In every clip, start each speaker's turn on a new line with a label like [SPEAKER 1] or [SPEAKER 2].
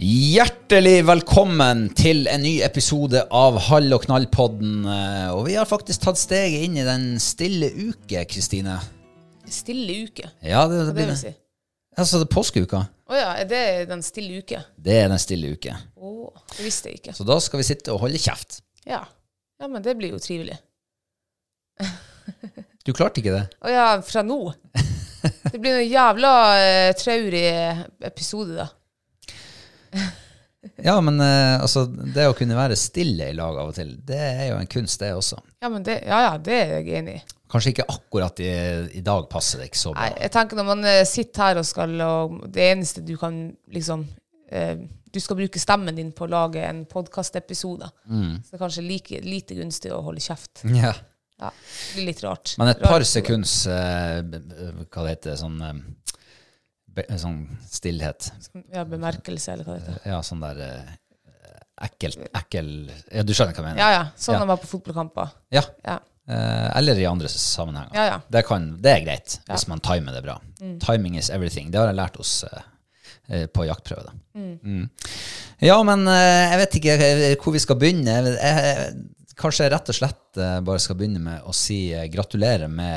[SPEAKER 1] Hjertelig velkommen til en ny episode av Hall og knall-podden. Eh, Og vi har faktisk tatt steget inn i den stille uke, Kristine.
[SPEAKER 2] Stille uke.
[SPEAKER 1] Ja, det,
[SPEAKER 2] Hva det vil si?
[SPEAKER 1] Altså, det er påskeuka.
[SPEAKER 2] Å ja, er det den stille uke?
[SPEAKER 1] Det er den stille uke.
[SPEAKER 2] Å, det visste jeg ikke.
[SPEAKER 1] Så da skal vi sitte og holde kjeft.
[SPEAKER 2] Ja. ja, men det blir jo trivelig.
[SPEAKER 1] Du klarte ikke det?
[SPEAKER 2] Å ja, fra nå? Det blir en jævla eh, traurig episode, da.
[SPEAKER 1] Ja, men eh, altså, det å kunne være stille i lag av og til, det er jo en kunst, det også.
[SPEAKER 2] Ja, men det, ja, ja, det er jeg enig i.
[SPEAKER 1] Kanskje ikke akkurat i, i dag passer det ikke så bra.
[SPEAKER 2] Nei, jeg tenker når man eh, sitter her og skal og Det eneste du kan liksom eh, Du skal bruke stemmen din på å lage en podkastepisode.
[SPEAKER 1] Mm.
[SPEAKER 2] Så det er kanskje like, lite gunstig å holde kjeft.
[SPEAKER 1] Ja.
[SPEAKER 2] Ja, det blir litt rart.
[SPEAKER 1] Mm. Men et par
[SPEAKER 2] Rart.
[SPEAKER 1] sekunds eh, b- b- Hva det heter sånn, eh, be, sånn stillhet.
[SPEAKER 2] Ja, bemerkelse, eller hva det heter.
[SPEAKER 1] Ja, sånn der eh, ekkelt, ekkel Ja, du skjønner hva jeg mener?
[SPEAKER 2] Ja, ja. Sånn
[SPEAKER 1] Ja.
[SPEAKER 2] når man er på fotballkamper.
[SPEAKER 1] Ja.
[SPEAKER 2] Ja.
[SPEAKER 1] Eh, eller i andre sammenhenger.
[SPEAKER 2] Ja, Mm. ja.
[SPEAKER 1] Det, kan, det er greit, hvis man timer det bra. Timing is everything. Det har jeg lært hos eh, eh, på jaktprøve. da. Mm. Ja, men eh, jeg vet ikke eh, hvor vi skal begynne. Jeg, vet- jeg, kanskje jeg rett og slett eh, bare skal begynne med å si eh, gratulerer med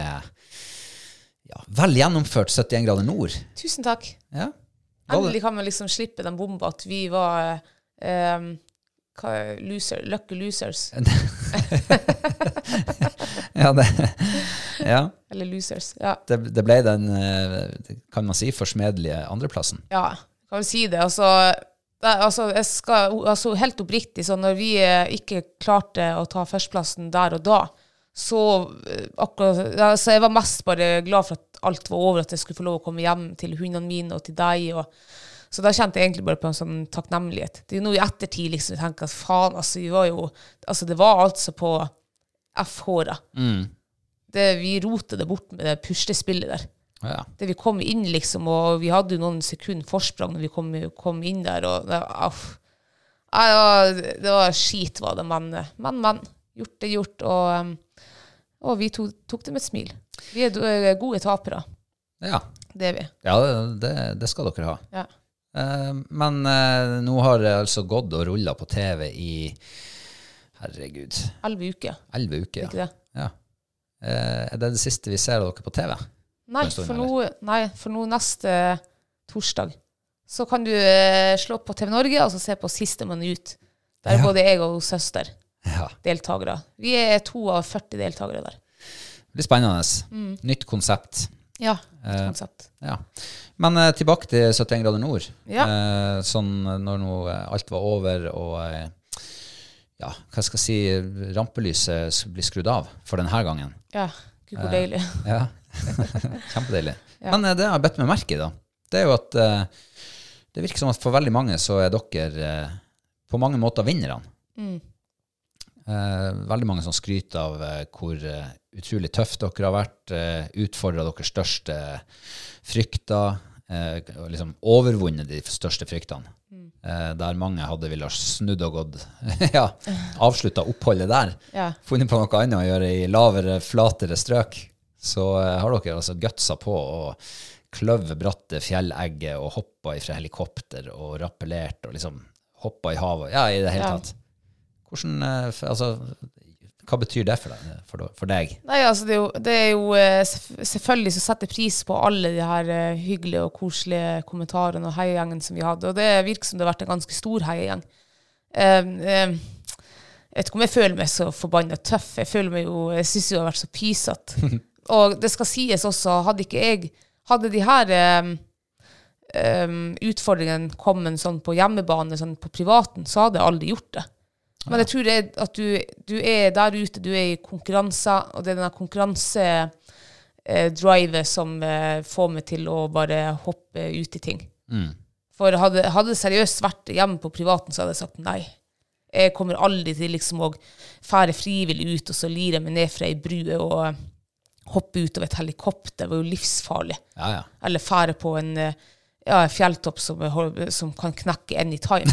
[SPEAKER 1] ja, vel gjennomført 71 grader nord.
[SPEAKER 2] Tusen takk.
[SPEAKER 1] Ja. Da-
[SPEAKER 2] Endelig kan man liksom slippe den bomba at vi var eh, um, hva- loser, lucky losers.
[SPEAKER 1] ja, det, ja
[SPEAKER 2] Eller losers. Ja.
[SPEAKER 1] det, det ble den, eh, kan man si, forsmedelige andreplassen.
[SPEAKER 2] ja. Kan vel si det. Altså, det, altså, jeg skal, altså helt oppriktig, så når vi eh, ikke klarte å ta førsteplassen der og da, så eh, akkurat, altså, jeg var mest bare glad for at alt var over, at jeg skulle få lov å komme hjem til hundene mine og til deg. Og, så da kjente jeg egentlig bare på en sånn takknemlighet. Det er jo nå i ettertid liksom, jeg tenker at faen, altså, vi var jo, altså det var altså på F-håret. Vi rotet det bort med det puslespillet der
[SPEAKER 1] Ja.
[SPEAKER 2] det vi kom inn, liksom, og vi hadde jo noen sekunder forsprang når vi kom, kom inn der, og det, aff. Nei, det, var, det var skit, var det, men, men, men. Gjort er gjort, og, um, og vi to, tok det med et smil. Vi er do- er gode tapere,
[SPEAKER 1] ja.
[SPEAKER 2] det er vi.
[SPEAKER 1] Ja, det, det skal dere ha.
[SPEAKER 2] Ja.
[SPEAKER 1] Eh, men eh, nå har det altså gått og rulla på TV i Herregud,
[SPEAKER 2] Elleve uker,
[SPEAKER 1] elleve
[SPEAKER 2] er
[SPEAKER 1] uker.
[SPEAKER 2] ikke det?
[SPEAKER 1] Ja. Eh, er det det siste vi ser av dere på TV?
[SPEAKER 2] Nei,
[SPEAKER 1] Neste år,
[SPEAKER 2] for nå, nei, for nå neste torsdag så kan du eh, slå på TV Norge og så se på Sistemann ut. Der er
[SPEAKER 1] Ja.
[SPEAKER 2] både jeg og søster
[SPEAKER 1] Ja.
[SPEAKER 2] deltakere. Vi er to av 40 deltakere der.
[SPEAKER 1] Det blir spennende. Nytt konsept.
[SPEAKER 2] Ja, et
[SPEAKER 1] Eh,
[SPEAKER 2] Mm. konsept.
[SPEAKER 1] Ja. Men eh, tilbake til 71 grader nord.
[SPEAKER 2] Ja.
[SPEAKER 1] Eh, sånn eh, når nå eh, alt var over og eh, ja, hva skal jeg si, rampelyset s- blir skrudd av for denne gangen.
[SPEAKER 2] Ja, gud hvor deilig.
[SPEAKER 1] Ja. Kjempedeilig. Men eh, det jeg har bedt meg merke i, da, det er jo at eh, Det virker som at for veldig mange så er dere eh, på mange måter vinnerne. Eh, veldig mange som skryter av eh, hvor eh, utrolig tøft dere har vært, eh, utfordra deres største frykter, eh, og liksom overvunnet de største fryktene. Eh, der mange hadde ville ha snudd og gått, ja, avslutta oppholdet der,
[SPEAKER 2] Ja.
[SPEAKER 1] funnet på noe annet å gjøre i lavere, flatere strøk, så eh, har dere altså gutsa på og kløv bratte fjellegget og hoppa ifra helikopter og rappellert og liksom hoppa i havet. Ja, i det hele
[SPEAKER 2] Ja.
[SPEAKER 1] tatt. Hvordan, eh, f- altså, hva betyr det for deg? For, for deg?
[SPEAKER 2] Nei, altså det er jo, det er jo eh, selvf- Selvfølgelig så setter jeg pris på alle de her eh, hyggelige og koselige kommentarene og heiagjengen som vi hadde, og det virker som det har vært en ganske stor heiagjeng. Um, um, jeg vet ikke om jeg føler meg så forbanna tøff. Jeg føler meg jo, jeg syns jo jeg har vært så pysete. og det skal sies også, hadde ikke jeg Hadde de her um, um, utfordringene kommet sånn på hjemmebane, sånn på privaten, så hadde jeg aldri gjort det. Men jeg tror det er at du, du er der ute, du er i konkurranser, og det er denne konkurransedrivet som eh, får meg til å bare hoppe ut i ting. For hadde, hadde det seriøst vært hjemme på privaten, så hadde jeg sagt nei. Jeg kommer aldri til liksom å fære frivillig ut, og så lir jeg meg ned fra ei brue og eh, hoppe ut av et helikopter. Det var jo livsfarlig.
[SPEAKER 1] Ja, ja.
[SPEAKER 2] Eller fære på en eh, ja, fjelltopp som, er hol- som kan knekke anytime.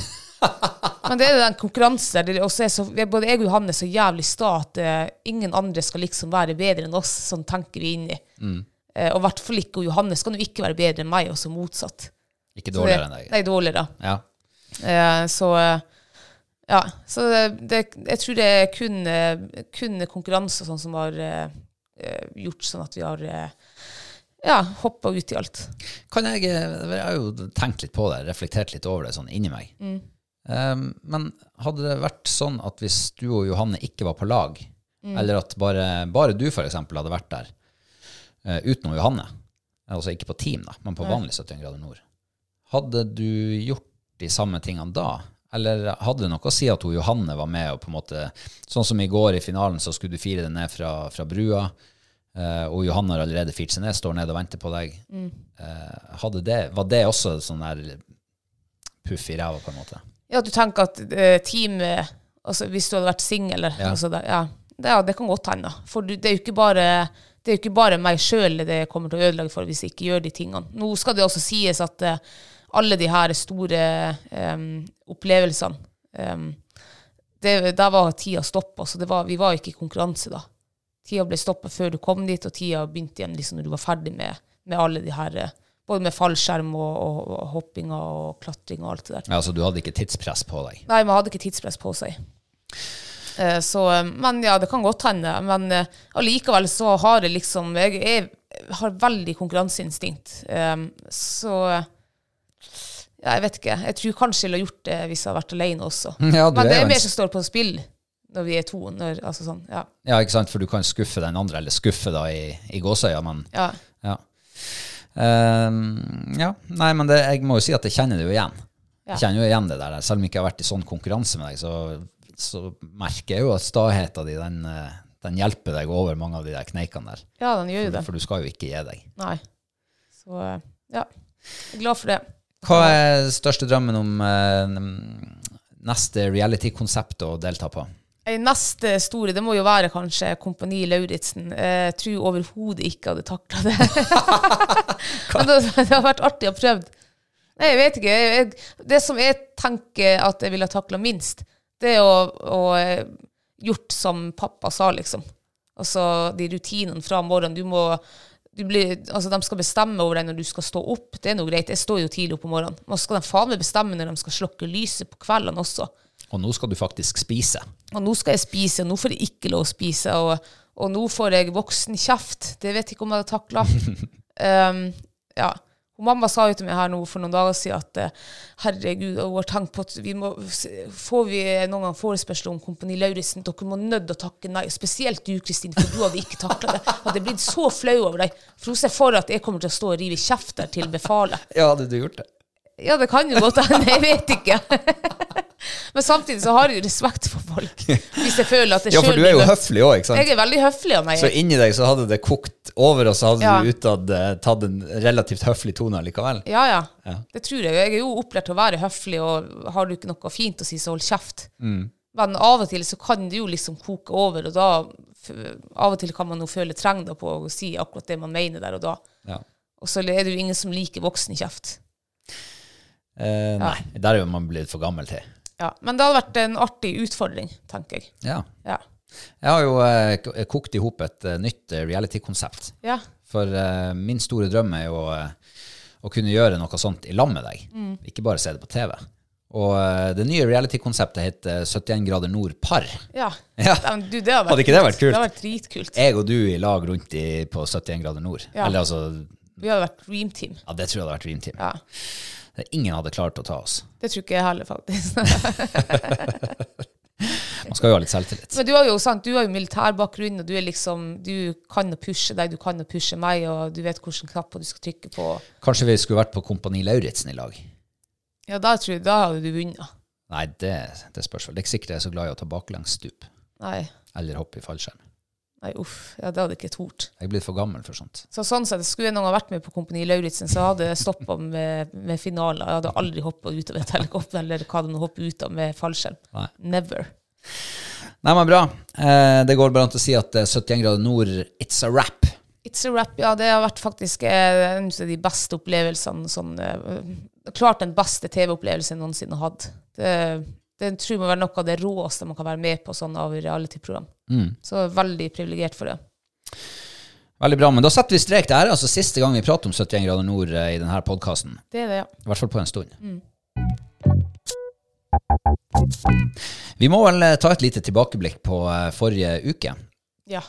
[SPEAKER 2] Men det er jo den konkurransen der. det også er så, vi er- både jeg og Johanne er så jævlig sta at eh, ingen andre skal liksom være bedre enn oss. Sånn tenker vi inni.
[SPEAKER 1] Mm.
[SPEAKER 2] Eh, og i hvert fall ikke og Johanne skal jo ikke være bedre enn meg, og så motsatt.
[SPEAKER 1] Ikke
[SPEAKER 2] Så det-
[SPEAKER 1] dårligere enn deg?
[SPEAKER 2] Nei, dårligere.
[SPEAKER 1] Ja.
[SPEAKER 2] Eh, så eh, ja. Så det, det, jeg tror det er kun, eh, kun konkurranse og sånn som har eh, eh, gjort sånn at vi har eh, ja, hoppa ut i alt.
[SPEAKER 1] Kan jeg, eh, jeg har jo tenkt litt på det, reflektert litt over det sånn inni meg. Um, men hadde det vært sånn at hvis du og Johanne ikke var på lag, eller at bare, bare du for eksempel hadde vært der, eh, utenom Johanne, altså ikke på team da, men på vanlig 71 grader nord, hadde du gjort de samme tingene da? Eller hadde det noe å si at hun Johanne var med og på en måte, sånn som i går i finalen, så skulle du fire deg ned fra, fra brua, eh, og Johanne har allerede firt seg ned, står ned og venter på deg. Eh, hadde det, var det også sånn der puff i ræva på en måte?
[SPEAKER 2] Ja, du tenker at eh, teamet altså Hvis du hadde vært singel,
[SPEAKER 1] Ja.
[SPEAKER 2] altså, det- ja, det, ja, det kan godt hende. For du, det er jo ikke bare det er jo ikke bare meg sjøl det kommer til å ødelegge for hvis jeg ikke gjør de tingene. Nå skal det også sies at eh, alle de her store em, opplevelsene em, det, Der var tida stoppa, så det var, vi var ikke i konkurranse da. Tida ble stoppa før du kom dit, og tida begynte igjen liksom, når du var ferdig med, med alle de her eh, Både med fallskjerm og, og, og hoppinga og klatring og alt det der.
[SPEAKER 1] Ja, altså du hadde ikke tidspress på deg?
[SPEAKER 2] Nei, man hadde ikke tidspress på seg. Eh, Så, eh, men ja, det kan godt hende. Men eh, allikevel så har jeg liksom Jeg, jeg har veldig konkurranseinstinkt. Eh, Så ja, jeg vet ikke. Jeg tror kanskje jeg ville gjort det hvis jeg hadde vært alene også.
[SPEAKER 1] Ja, du
[SPEAKER 2] men
[SPEAKER 1] er
[SPEAKER 2] det
[SPEAKER 1] jo
[SPEAKER 2] er
[SPEAKER 1] en
[SPEAKER 2] mer
[SPEAKER 1] s-
[SPEAKER 2] som står på spill når vi er to. Når, altså sånn, ja.
[SPEAKER 1] Ja, ikke sant? For du kan skuffe den andre, eller skuffe da i, i gåsøya, men
[SPEAKER 2] ja.
[SPEAKER 1] ja. Ehm, ja. Nei, men det, jeg må jo si at jeg kjenner det jo igjen. Jeg kjenner jo igjen det der. Selv om jeg ikke har vært i sånn konkurranse med deg, så, så merker jeg jo at staheten din, den, eh, den hjelper deg over mange av de der kneikene der.
[SPEAKER 2] ja, den gjør jo det.
[SPEAKER 1] For du skal jo ikke gi deg.
[SPEAKER 2] Nei. Så eh, ja. Jeg er glad for det.
[SPEAKER 1] Hva er største drømmen om eh, neste reality-konsept å delta på?
[SPEAKER 2] Eh, Neste store, det må jo være kanskje Kompani Lauritzen. Eh, Jeg tror overhodet ikke jeg hadde takla det. Men det, det har vært artig å prøve. Nei, jeg vet ikke. Jeg, jeg, det som jeg tenker at jeg ville ha takla minst, det er å, å eh, gjort som pappa sa, liksom. Altså de rutinene fra morgenen. Du må du blir, altså, De skal bestemme over deg når du skal stå opp. Det er noe greit. Jeg står jo tidlig opp om morgenen. Men så skal de faen meg bestemme når de skal slukke lyset på kveldene også.
[SPEAKER 1] Og nå skal du faktisk spise.
[SPEAKER 2] Og nå skal jeg spise, og nå får jeg ikke lov å spise, og, og nå får jeg voksen kjeft. Det vet jeg ikke om jeg hadde takla. um, ja. Og mamma sa jo til meg her nå for noen dager siden at eh, herregud, og hun har tenkt på at vi må, får vi noen gang forespørsel om Kompani Lauritzen, dere må nødt til å takke nei. Spesielt du, Kristin, for du hadde ikke takla det. Jeg hadde blitt så flau over deg. For hun ser for seg at jeg kommer til å stå og rive kjefter til befalet.
[SPEAKER 1] Ja, hadde du gjort det?
[SPEAKER 2] Ja, det kan jo godt hende. Jeg vet ikke. Men samtidig så har jeg jo respekt for folk. Hvis jeg føler at jeg
[SPEAKER 1] Ja, for
[SPEAKER 2] selv
[SPEAKER 1] du er jo
[SPEAKER 2] blir møtt.
[SPEAKER 1] høflig òg, ikke sant?
[SPEAKER 2] Jeg er veldig høflig av meg.
[SPEAKER 1] Så inni deg så hadde det kokt over, og så hadde
[SPEAKER 2] Ja.
[SPEAKER 1] du utad eh, tatt en relativt høflig tone likevel.
[SPEAKER 2] Ja, ja, Det tror jeg. Jeg er jo opplært til å være høflig, og har du ikke noe fint å si, så hold kjeft.
[SPEAKER 1] Mm.
[SPEAKER 2] Men av og til så kan det jo liksom koke over, og da f- Av og til kan man jo føle trengda på å si akkurat det man mener der og da.
[SPEAKER 1] Ja.
[SPEAKER 2] Og så er det jo ingen som liker voksen kjeft.
[SPEAKER 1] Eh, nei, der er jo man blitt for gammel til.
[SPEAKER 2] Ja. Men det hadde vært en artig utfordring, tenker jeg.
[SPEAKER 1] Ja.
[SPEAKER 2] Ja.
[SPEAKER 1] Jeg har jo eh, k- kokt i hop et eh, nytt eh, reality-konsept.
[SPEAKER 2] ja.
[SPEAKER 1] For eh, min store drøm er jo eh, å kunne gjøre noe sånt i lag med deg.
[SPEAKER 2] Mm.
[SPEAKER 1] Ikke bare se det på TV. Og eh, det nye reality-konseptet heter 71 grader nord par.
[SPEAKER 2] Ja.
[SPEAKER 1] Ja.
[SPEAKER 2] Nei, Du, det hadde, vært
[SPEAKER 1] Hadde ikke det
[SPEAKER 2] kult.
[SPEAKER 1] vært kult?
[SPEAKER 2] Det hadde vært dritkult.
[SPEAKER 1] Jeg og du i lag rundt i, på 71 grader nord.
[SPEAKER 2] Ja.
[SPEAKER 1] Eller altså,
[SPEAKER 2] Vi hadde vært Dream Team.
[SPEAKER 1] ja, det tror jeg hadde vært Dream Team.
[SPEAKER 2] Ja.
[SPEAKER 1] Ingen hadde klart å ta oss.
[SPEAKER 2] Det tror ikke jeg heller, faktisk.
[SPEAKER 1] Man skal jo ha litt selvtillit.
[SPEAKER 2] Men du har jo sant, du har jo militærbakgrunn, og du er liksom Du kan å pushe deg, du kan å pushe meg, og du vet hvilke knapper du skal trykke på.
[SPEAKER 1] Kanskje vi skulle vært på Kompani Lauritzen i lag?
[SPEAKER 2] Ja, da tror jeg da hadde du vunnet.
[SPEAKER 1] Nei, det, det spørs vel. Det er ikke sikkert jeg er så glad i å ta baklengs stup.
[SPEAKER 2] Nei.
[SPEAKER 1] Eller hoppe i fallskjerm.
[SPEAKER 2] Nei, uff. Ja, det hadde jeg ikke tort.
[SPEAKER 1] Jeg er blitt for gammel for sånt.
[SPEAKER 2] Så sånn sett, skulle jeg noen gang vært med på Kompani Lauritzen, så hadde jeg stoppa med, med finaler. Jeg hadde aldri hoppa ut av et helikopter, eller hva de nå hopper ut av med fallskjerm.
[SPEAKER 1] Nei.
[SPEAKER 2] Never.
[SPEAKER 1] Nei, men bra. Eh, det går bare an til å si at eh, 71 grader nord, it's a wrap.
[SPEAKER 2] It's a wrap. Ja, det har vært faktisk eh, en av de beste opplevelsene sånn, eh, Klart den beste TV-opplevelsen jeg noensinne har hatt. Det, det tror jeg må være noe av det råeste man kan være med på sånn av reality-program.
[SPEAKER 1] Mm.
[SPEAKER 2] Så veldig privilegert for det.
[SPEAKER 1] Veldig bra, men da setter vi strek. Det er altså siste gang vi prater om 71 grader nord eh, i denne podkasten.
[SPEAKER 2] Det er det, ja.
[SPEAKER 1] I hvert fall på en stund.
[SPEAKER 2] Mm.
[SPEAKER 1] Vi må vel eh, ta et lite tilbakeblikk på eh, forrige uke.
[SPEAKER 2] Ja.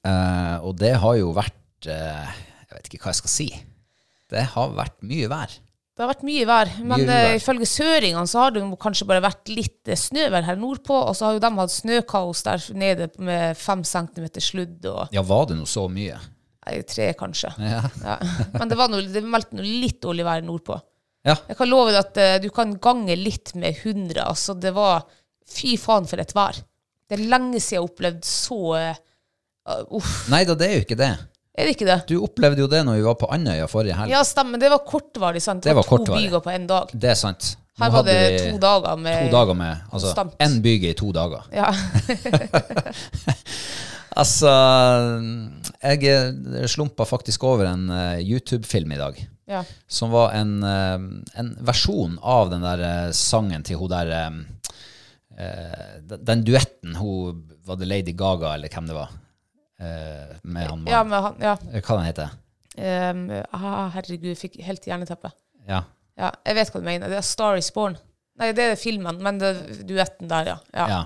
[SPEAKER 1] Eh, og det har jo vært eh, Jeg vet ikke hva jeg skal si. Det har vært mye vær.
[SPEAKER 2] Det har vært mye vær, men
[SPEAKER 1] Mye
[SPEAKER 2] eh,
[SPEAKER 1] vær.
[SPEAKER 2] ifølge søringene så har det jo kanskje bare vært litt eh, snøvær her nordpå, og så har jo de hatt snøkaos der nede med fem centimeter sludd og
[SPEAKER 1] Ja, var det nå så mye?
[SPEAKER 2] nei, tre, kanskje.
[SPEAKER 1] Ja.
[SPEAKER 2] Ja. Men det, var noe, det meldte noe litt dårlig vær nordpå.
[SPEAKER 1] Ja.
[SPEAKER 2] Jeg kan love deg at eh, du kan gange litt med 100. Altså, det var Fy faen, for et vær. Det er lenge siden jeg har opplevd så eh, uh, Uff.
[SPEAKER 1] Nei da, det er jo ikke det.
[SPEAKER 2] Er det ikke det?
[SPEAKER 1] Du opplevde jo det når vi var på Andøya forrige helg.
[SPEAKER 2] Ja, stemmer. Det var kortvarig, sant?
[SPEAKER 1] Det var
[SPEAKER 2] to
[SPEAKER 1] kortvarig.
[SPEAKER 2] byger på én dag.
[SPEAKER 1] Det er sant. Nå
[SPEAKER 2] Her var det
[SPEAKER 1] hadde vi
[SPEAKER 2] to dager med
[SPEAKER 1] to dager med Altså
[SPEAKER 2] konstant.
[SPEAKER 1] én byge i to dager.
[SPEAKER 2] Ja.
[SPEAKER 1] Altså, jeg eh, slumpa faktisk over en eh, YouTube-film i dag.
[SPEAKER 2] ja.
[SPEAKER 1] Som var en, eh, en versjon av den der eh, sangen til hun der eh, eh, den- Den duetten hun Var det Lady Gaga, eller hvem det var? Eh, med han mannen. Eh,
[SPEAKER 2] ja, men han Ja.
[SPEAKER 1] Hva den heter
[SPEAKER 2] Um, ah, herregud, jeg fikk helt jerneteppe.
[SPEAKER 1] Ja.
[SPEAKER 2] Ja, jeg vet hva du mener. Det er Star is Born. Nei, det er filmen, men det, duetten der, ja. ja.
[SPEAKER 1] Ja.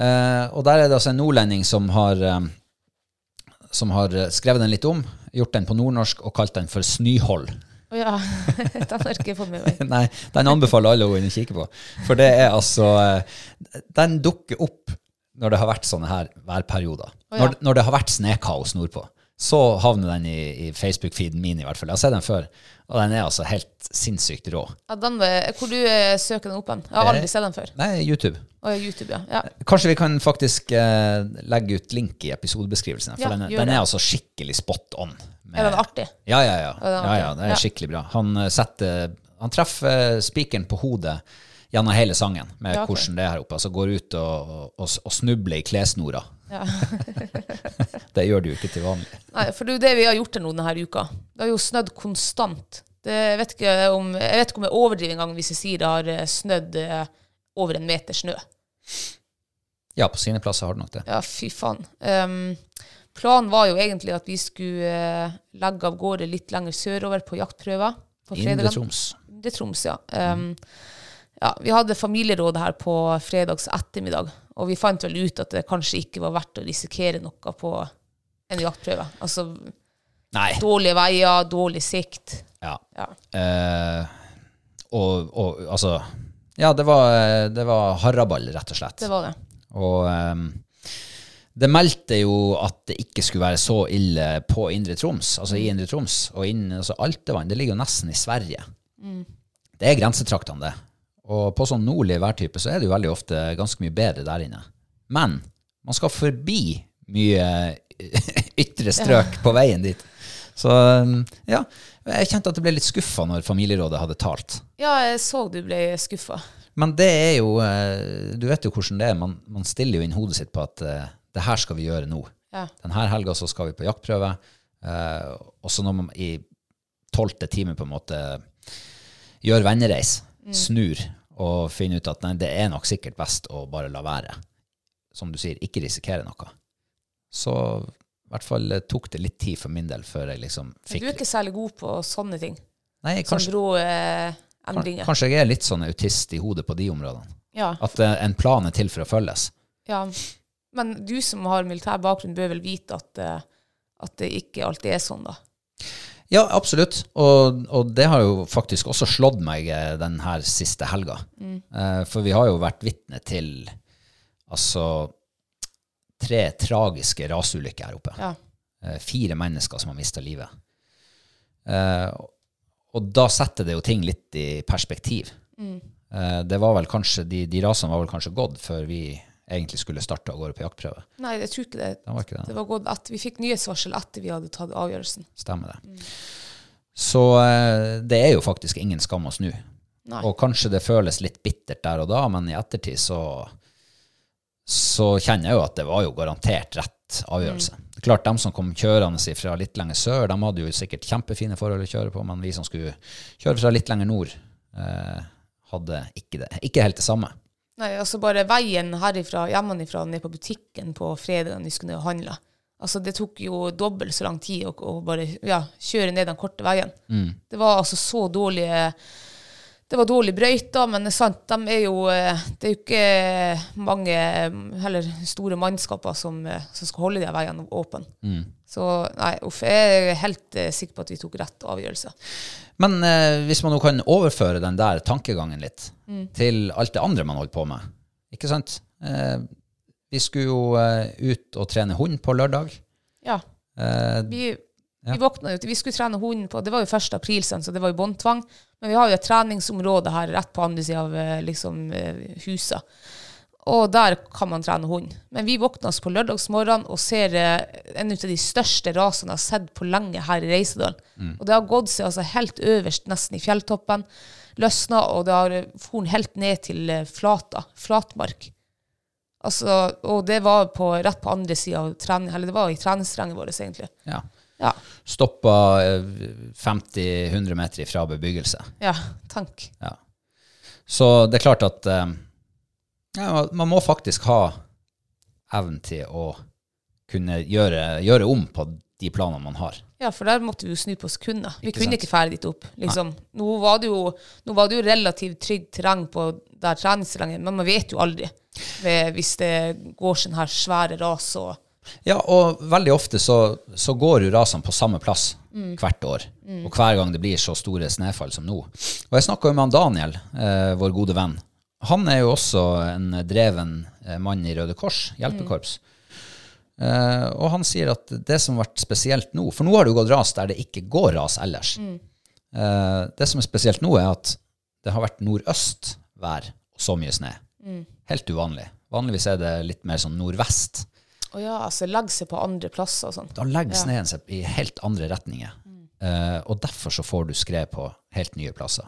[SPEAKER 1] Eh, og der er det altså en nordlending som har, eh, som har eh, skrevet den litt om, gjort den på nordnorsk og kalt den for Snyhold.
[SPEAKER 2] Å ja. Den har jeg ikke fått med meg.
[SPEAKER 1] Nei, den anbefaler alle å gå inn og kikke på. For det er altså eh, Den dukker opp når det har vært sånne her værperioder.
[SPEAKER 2] Å, ja.
[SPEAKER 1] Når, når det har vært snekaos nordpå. Så havner den i, i Facebook-feeden min, i hvert fall. Jeg har sett den før, og den er altså helt sinnssykt rå.
[SPEAKER 2] Ja, den, eh, hvor du eh, søker den opp hen? Jeg har
[SPEAKER 1] Eh.
[SPEAKER 2] aldri sett den før.
[SPEAKER 1] Nei, YouTube.
[SPEAKER 2] Og YouTube, ja. ja.
[SPEAKER 1] Kanskje vi kan faktisk eh, legge ut link i episodebeskrivelsen. her, For
[SPEAKER 2] Ja,
[SPEAKER 1] den,
[SPEAKER 2] gjør
[SPEAKER 1] den
[SPEAKER 2] det.
[SPEAKER 1] er altså skikkelig spot on. med-
[SPEAKER 2] Er den artig?
[SPEAKER 1] Ja, ja, ja. ja,
[SPEAKER 2] den
[SPEAKER 1] ja
[SPEAKER 2] artig?
[SPEAKER 1] det
[SPEAKER 2] Ja.
[SPEAKER 1] er skikkelig bra. Han, eh, setter, han treffer eh, spikeren på hodet gjennom hele sangen med
[SPEAKER 2] Ja, ok.
[SPEAKER 1] hvordan det er her oppe. Altså går ut og, og, og snubler i klessnora.
[SPEAKER 2] Ja.
[SPEAKER 1] det gjør du jo ikke til vanlig.
[SPEAKER 2] Nei, for det er jo det vi har gjort her nå denne uka. Det har jo snødd konstant. Det, jeg, vet ikke om, jeg vet ikke om jeg overdriver engang hvis jeg sier det har eh, snødd eh, over en meter snø.
[SPEAKER 1] Ja, på sine plasser har du nok det.
[SPEAKER 2] Ja, fy faen. Ehm, planen var jo egentlig at vi skulle eh, legge av gårde litt lenger sørover på jaktprøver. På
[SPEAKER 1] Indre
[SPEAKER 2] fredagen.
[SPEAKER 1] Troms.
[SPEAKER 2] Det er Troms, ja. Um, ja. Vi hadde familieråd her på fredags ettermiddag, og vi fant vel ut at det kanskje ikke var verdt å risikere noe på en jaktprøve. Altså
[SPEAKER 1] Nei.
[SPEAKER 2] dårlige veier, dårlig sikt.
[SPEAKER 1] Ja.
[SPEAKER 2] Ja.
[SPEAKER 1] Eh, og, og altså Ja, det var, eh, det var haraball, rett og slett.
[SPEAKER 2] Det var det.
[SPEAKER 1] Og ehm, det meldte jo at det ikke skulle være så ille på Indre Troms, altså i Indre Troms. Og inn, altså Altevann, det ligger jo nesten i Sverige. Det er grensetraktene, det. Og på sånn nordlig værtype så er det jo veldig ofte ganske mye bedre der inne. Men man skal forbi mye eh, ytre strøk på veien dit. Så ehm, ja, jeg kjente at jeg ble litt skuffa når familierådet hadde talt.
[SPEAKER 2] Ja, jeg så du ble skuffa.
[SPEAKER 1] Men det er jo eh, Du vet jo hvordan det er. Man, man stiller jo inn hodet sitt på at eh, det her skal vi gjøre nå.
[SPEAKER 2] Ja.
[SPEAKER 1] Denne helga så skal vi på jaktprøve. eh, Og så når man i tolvte time på en måte gjør vennereis,
[SPEAKER 2] Mm.
[SPEAKER 1] snur og finner ut at nei, det er nok sikkert best å bare la være. Som du sier, ikke risikere noe. Så i hvert fall eh, tok det litt tid for min del før jeg liksom
[SPEAKER 2] Men
[SPEAKER 1] fikk
[SPEAKER 2] du er ikke sånn særlig god på sånne ting.
[SPEAKER 1] Nei,
[SPEAKER 2] Sånne
[SPEAKER 1] kanskje,
[SPEAKER 2] grå eh, endringer.
[SPEAKER 1] kanskje jeg er litt sånn autist i hodet på de områdene.
[SPEAKER 2] Ja.
[SPEAKER 1] At eh, en plan er til for å følges.
[SPEAKER 2] ja. Men du som har militær bakgrunn, bør vel vite at, eh, at det ikke alltid er sånn, da.
[SPEAKER 1] Ja, absolutt. Og, og det har jo faktisk også slått meg eh, den her siste helga. Eh, for vi har jo vært vitne til altså tre tragiske rasulykker her oppe.
[SPEAKER 2] Ja.
[SPEAKER 1] Eh, fire mennesker som har mista livet. Eh, og da setter det jo ting litt i perspektiv. Eh, det var vel kanskje, de, de rasene var vel kanskje gått før vi egentlig skulle starte av gårde på jaktprøve.
[SPEAKER 2] Nei, jeg tror ikke det.
[SPEAKER 1] Det var ikke det.
[SPEAKER 2] Det var gått at Vi fikk nyhetsvarsel etter vi hadde tatt avgjørelsen.
[SPEAKER 1] Stemmer det. Så eh, det er jo faktisk ingen skam å snu.
[SPEAKER 2] Nei.
[SPEAKER 1] Og kanskje det føles litt bittert der og da, men i ettertid så, så kjenner jeg jo at det var jo garantert rett avgjørelse. Det er klart, dem som kom kjørende fra litt lenger sør, de hadde jo sikkert kjempefine forhold å kjøre på, men vi som skulle kjøre fra litt lenger nord, eh, hadde ikke det. Ikke helt det samme.
[SPEAKER 2] Nei, altså bare veien herifra, hjemmefra, ned på butikken på fredagen vi skulle ned og handle. Altså, det tok jo dobbelt så lang tid å, å bare ja, kjøre ned den korte veien.
[SPEAKER 1] Mm.
[SPEAKER 2] Det var altså så dårlige Det var dårlige brøyter, men det er sant, de er jo eh, Det er jo ikke mange eh, heller store mannskaper som, eh, som skal holde de her veiene åpne.
[SPEAKER 1] Mm.
[SPEAKER 2] Så nei, uff, jeg er helt eh, sikker på at vi tok rett avgjørelse.
[SPEAKER 1] Men eh, hvis man nå kan overføre den der tankegangen litt til alt det andre man holder på med, ikke sant? Eh, vi skulle jo eh, ut og trene hund på lørdag.
[SPEAKER 2] Ja.
[SPEAKER 1] Eh,
[SPEAKER 2] Vi, vi våkna jo til Vi skulle trene hunden på Det var jo 1. april, sen, så det var jo båndtvang. Men vi har jo et treningsområde her rett på andre sida av eh, liksom, eh, huset. Og der kan man trene hund. Men vi våkna oss på lørdagsmorgenen og ser eh, en av de største rasene jeg har sett på lenge her i Reisedalen. Og det har gått seg altså helt øverst, nesten i fjelltoppen. Løsna, og det har eh, for helt ned til eh, flata. Flatmark. Altså, og det var på, rett på andre sida av trening, eller det var i treningsterrenget vårt, egentlig.
[SPEAKER 1] ja.
[SPEAKER 2] Ja.
[SPEAKER 1] Stoppa eh, 50-100 meter ifra bebyggelse.
[SPEAKER 2] ja tank.
[SPEAKER 1] Ja. Så det er klart at eh, ja, man må faktisk ha evnen til å kunne gjøre, gjøre om på de planene man har.
[SPEAKER 2] Ja, for der måtte vi jo snu på sekunder. Vi
[SPEAKER 1] Ikke
[SPEAKER 2] kunne
[SPEAKER 1] sant?
[SPEAKER 2] ikke fære dit opp. liksom. Nå var, det jo, nå var det jo relativt trygt terreng på der treningsterrenget, men man vet jo aldri ved, hvis det går sånn her svære ras og
[SPEAKER 1] Ja, og veldig ofte så, så går jo rasene på samme plass hvert år. Og hver gang det blir så store snøfall som nå. Og jeg snakka jo med han Daniel, eh, vår gode venn. Han er jo også en dreven eh, mann i Røde Kors, hjelpekorps. Eh, og han sier at det som har vært spesielt nå For nå har det jo gått ras der det ikke går ras ellers. Eh, det som er spesielt nå, er at det har vært nordøstvær og så mye snø. Helt uvanlig. Vanligvis er det litt mer sånn nordvest
[SPEAKER 2] Å ja, altså legge seg på andre plasser og sånn.
[SPEAKER 1] da legger sneen seg i helt andre retninger. Eh, og derfor så får du skred på helt nye plasser.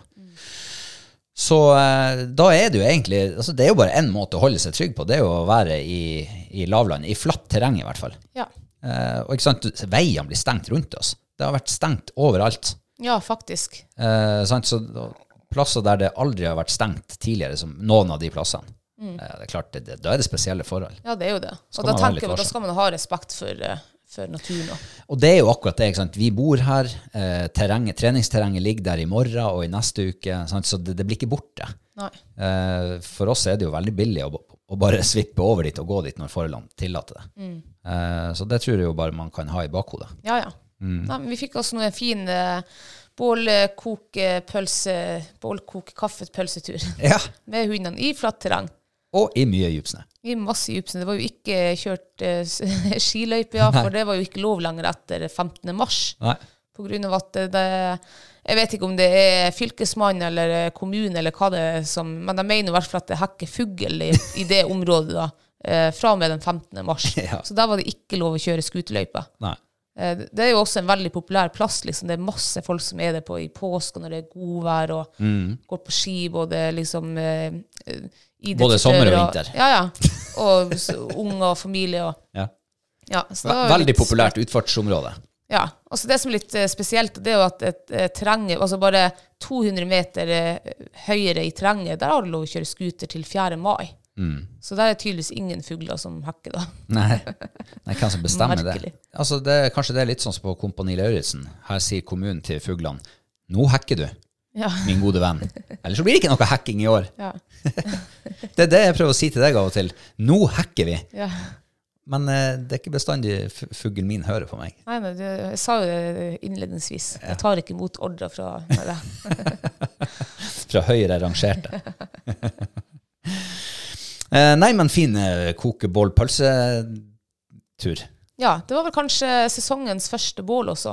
[SPEAKER 1] Så eh, da er det jo egentlig altså Det er jo bare én måte å holde seg trygg på. Det er jo å være i, i lavland. I flatt terreng, i hvert fall.
[SPEAKER 2] Ja.
[SPEAKER 1] Eh, og ikke sant, du- veiene blir stengt rundt oss. Det har vært stengt overalt.
[SPEAKER 2] ja, faktisk.
[SPEAKER 1] Eh, sant? Så da- plasser der det aldri har vært stengt tidligere, som noen av de plassene, eh, det er klart, det, det, da er det spesielle forhold.
[SPEAKER 2] Ja, det er jo det.
[SPEAKER 1] Skal
[SPEAKER 2] Og da
[SPEAKER 1] man ha litt
[SPEAKER 2] tenker jeg, at da
[SPEAKER 1] varsom.
[SPEAKER 2] skal man ha respekt for, eh, for naturen òg.
[SPEAKER 1] Og det er jo akkurat det. ikke sant? Vi bor her, eh, terrenget, treningsterrenget ligger der i morgen og i neste uke, sant? så det, det blir ikke borte.
[SPEAKER 2] Nei.
[SPEAKER 1] Eh, for oss er det jo veldig billig å, å bare svippe over dit og gå dit når forholdene tillater det. Eh, så det tror jeg jo bare man kan ha i bakhodet.
[SPEAKER 2] Ja, ja.
[SPEAKER 1] Mm.
[SPEAKER 2] Nei, men vi fikk også nå en fin eh, bålkokepølse, bålkok-kaffepølsetur
[SPEAKER 1] Ja.
[SPEAKER 2] med hundene i flatt terreng.
[SPEAKER 1] Og i mye dypsnø.
[SPEAKER 2] I masse djupsnø. Det var jo ikke kjørt eh, s- skiløype, ja, for det var jo ikke lov lenger etter 15. mars
[SPEAKER 1] Nei.
[SPEAKER 2] På grunn av at det, det Jeg vet ikke om det er fylkesmann eller eh, kommune eller hva det er som Men de mener i hvert fall at det hekker fugl i, i det området da. eh, Fra og med den 15. mars.
[SPEAKER 1] Ja.
[SPEAKER 2] Så der var det ikke lov å kjøre skuterløype.
[SPEAKER 1] Nei.
[SPEAKER 2] Eh, Det det er jo også en veldig populær plass. liksom. Det er masse folk som er der på i påska når det er godvær, og
[SPEAKER 1] Mm.
[SPEAKER 2] går på ski både liksom eh, eh, idrettsutøvere
[SPEAKER 1] Både sommer og
[SPEAKER 2] og-
[SPEAKER 1] vinter.
[SPEAKER 2] Ja, ja. Og s- unger og familie og
[SPEAKER 1] Ja.
[SPEAKER 2] ja, så det
[SPEAKER 1] Ve-
[SPEAKER 2] var jo
[SPEAKER 1] Veldig
[SPEAKER 2] litt-
[SPEAKER 1] populært utfartsområde.
[SPEAKER 2] Ja. Og så det som er litt eh, spesielt, det er jo at et, eh, terrenget Altså bare 200 meter eh, høyere i terrenget, der har du lov å kjøre scooter til 4. mai.
[SPEAKER 1] Mm.
[SPEAKER 2] Så der er tydeligvis ingen fugler som hekker, da.
[SPEAKER 1] Nei. Nei, hvem som bestemmer det?
[SPEAKER 2] Merkelig.
[SPEAKER 1] Altså, det? er- Kanskje det er litt sånn som på Kompani Lauritzen. Her sier kommunen til fuglene Nå hekker du,
[SPEAKER 2] Ja.
[SPEAKER 1] min gode venn. Ellers så blir det ikke noe hacking i år.
[SPEAKER 2] Ja.
[SPEAKER 1] Det er det jeg prøver å si til deg av og til. Nå hacker vi.
[SPEAKER 2] ja.
[SPEAKER 1] Men eh, det er ikke bestandig f- fuglen min hører på meg.
[SPEAKER 2] Nei, nei, det, jeg sa jo det innledningsvis. Jeg tar ikke imot ordre fra nei, det.
[SPEAKER 1] Fra høyere rangerte. Eh, Nei, men fin eh, kokeboll-pølsetur.
[SPEAKER 2] Ja, det var vel kanskje sesongens første bål også.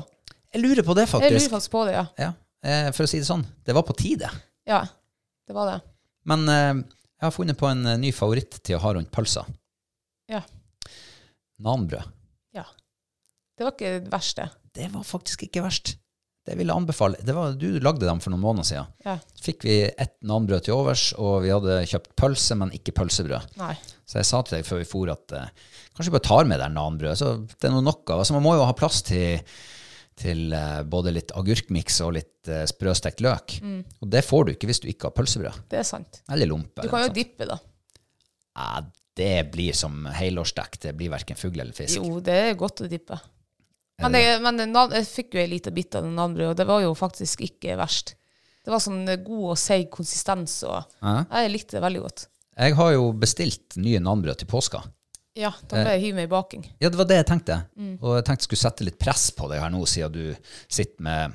[SPEAKER 1] Jeg lurer på det,
[SPEAKER 2] Jeg lurer
[SPEAKER 1] faktisk.
[SPEAKER 2] faktisk på det, ja.
[SPEAKER 1] Ja, eh, for å si det sånn, det var på tide.
[SPEAKER 2] Ja, det var det.
[SPEAKER 1] Men eh, jeg har funnet på en eh, ny favoritt til å ha rundt pølsa.
[SPEAKER 2] Ja.
[SPEAKER 1] Nanbrød.
[SPEAKER 2] ja. Det var ikke det verste.
[SPEAKER 1] Det var faktisk ikke verst. Det ville jeg anbefale. Det var, du lagde dem for noen måneder siden.
[SPEAKER 2] Ja.
[SPEAKER 1] Fikk vi ett nanbrød til overs, og vi hadde kjøpt pølse, men ikke pølsebrød.
[SPEAKER 2] Nei.
[SPEAKER 1] Så jeg sa til deg før vi for at eh, kanskje vi bare tar med der nanbrød. Så det er noe nok av. Altså, man må jo ha plass til, til eh, både litt agurkmiks og litt eh, sprøstekt løk.
[SPEAKER 2] Mm.
[SPEAKER 1] Og det får du ikke hvis du ikke har pølsebrød.
[SPEAKER 2] Det er sant.
[SPEAKER 1] Eller lompe.
[SPEAKER 2] Du
[SPEAKER 1] eller
[SPEAKER 2] kan
[SPEAKER 1] noe
[SPEAKER 2] jo
[SPEAKER 1] sånt.
[SPEAKER 2] dippe, da.
[SPEAKER 1] Ja, det blir som helårsdekk. Det blir verken fugl eller fisk.
[SPEAKER 2] Jo, det er godt å dippe. Men, jeg, men nan- jeg fikk jo en liten bit av den nanbrødet, og det var jo faktisk ikke verst. Det var sånn god og seig konsistens, og jeg likte det veldig godt.
[SPEAKER 1] Jeg har jo bestilt nye nanbrød til påska.
[SPEAKER 2] Ja, da må jeg hive meg i baking.
[SPEAKER 1] Ja, det var det jeg tenkte.
[SPEAKER 2] Mm.
[SPEAKER 1] Og jeg tenkte jeg skulle sette litt press på deg her nå, siden du sitter med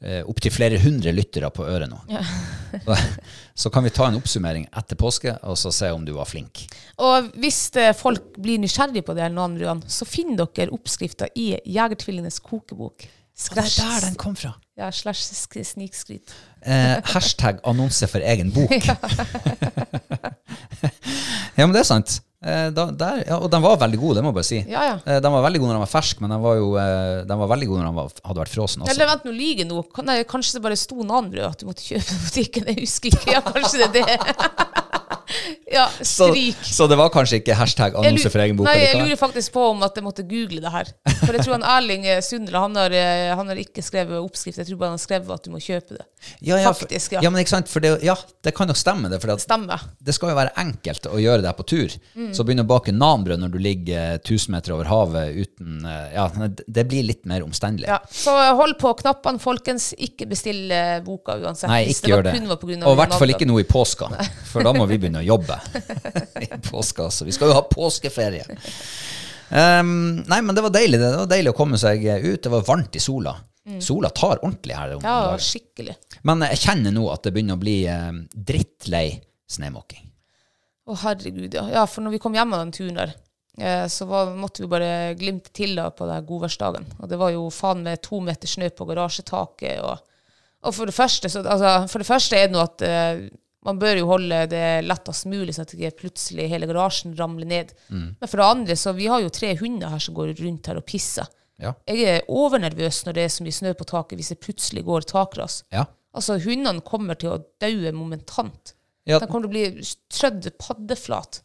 [SPEAKER 1] eh, opptil flere hundre lyttere på øret nå. så, så kan vi ta en oppsummering etter påske, og så se om du var flink.
[SPEAKER 2] Og hvis eh, folk blir nysgjerrig på det, eller noen brødene, så finner dere oppskrifta i Jegertvillingenes kokebok. Slash,
[SPEAKER 1] kom fra.
[SPEAKER 2] ja, slash sk- snikskryt.
[SPEAKER 1] Eh, hashtag annonse for egen bok. ja, men det er sant. Eh, da, der, ja, og den var veldig god, det må jeg bare si.
[SPEAKER 2] Ja, ja.
[SPEAKER 1] Eh, den var veldig god når den var fersk, men den var, jo, eh, den var veldig god når den var, hadde vært frossen også.
[SPEAKER 2] Eller vent, nå lyver jeg nå. Kan- Nei, kanskje det bare sto nanbrød at du måtte kjøpe på butikken. Jeg husker ikke. Ja, kanskje det er det. ja,
[SPEAKER 1] så,
[SPEAKER 2] stryk.
[SPEAKER 1] så det var kanskje ikke hashtag
[SPEAKER 2] Jeg lu-
[SPEAKER 1] annonse for egen bok?
[SPEAKER 2] Nei,
[SPEAKER 1] eller
[SPEAKER 2] jeg
[SPEAKER 1] hva?
[SPEAKER 2] lurer faktisk på om at jeg måtte google det her. For jeg tror han Erling eh, Sundre han har, eh, han har ikke skrevet oppskrift. Jeg tror bare han har skrevet at du må kjøpe det.
[SPEAKER 1] ja, ja, for-
[SPEAKER 2] Faktisk, ja.
[SPEAKER 1] ja, men ikke sant? For det, ja, det kan nok stemme, det. For det,
[SPEAKER 2] Stemmer.
[SPEAKER 1] det skal jo være enkelt å gjøre det her på tur.
[SPEAKER 2] Mm.
[SPEAKER 1] Så begynne å bake nanbrød når du ligger eh, 1000 meter over havet uten eh, Ja, det- det blir litt mer omstendelig.
[SPEAKER 2] Ja, så eh, hold på knappene, folkens. Ikke bestill eh, boka uansett.
[SPEAKER 1] Nei,
[SPEAKER 2] Hvis
[SPEAKER 1] ikke gjør det.
[SPEAKER 2] Kun var på grunn av
[SPEAKER 1] Og i hvert fall ikke
[SPEAKER 2] navnet.
[SPEAKER 1] nå i påska, for da må vi begynne å jobbe. I påska, altså. Vi skal jo ha påskeferie. Ehm, nei, men det var deilig. Det Det var deilig å komme seg ut. Det var varmt i sola. Sola tar ordentlig her om
[SPEAKER 2] Mm. Ja,
[SPEAKER 1] dagen.
[SPEAKER 2] skikkelig.
[SPEAKER 1] Men jeg kjenner nå at det begynner å bli eh, drittlei snømåking.
[SPEAKER 2] Å, herregud, ja. ja. For når vi kom hjem av den turen der, eh, så var, måtte vi bare glimte til da på den godværsdagen. Og det var jo faen meg to meter snø på garasjetaket. Og, og for, det første, så, altså, for det første er det nå at eh, man bør jo holde det lettest mulig, sånn at ikke plutselig hele garasjen ramler ned.
[SPEAKER 1] Mm.
[SPEAKER 2] Men for det andre, så vi har jo tre hunder her som går rundt her og pisser.
[SPEAKER 1] Ja.
[SPEAKER 2] Jeg er overnervøs når det er så mye snø på taket, hvis det plutselig går takras.
[SPEAKER 1] Ja.
[SPEAKER 2] Altså, hundene kommer til å daue momentant.
[SPEAKER 1] Ja.
[SPEAKER 2] De kommer til å bli trødd paddeflat.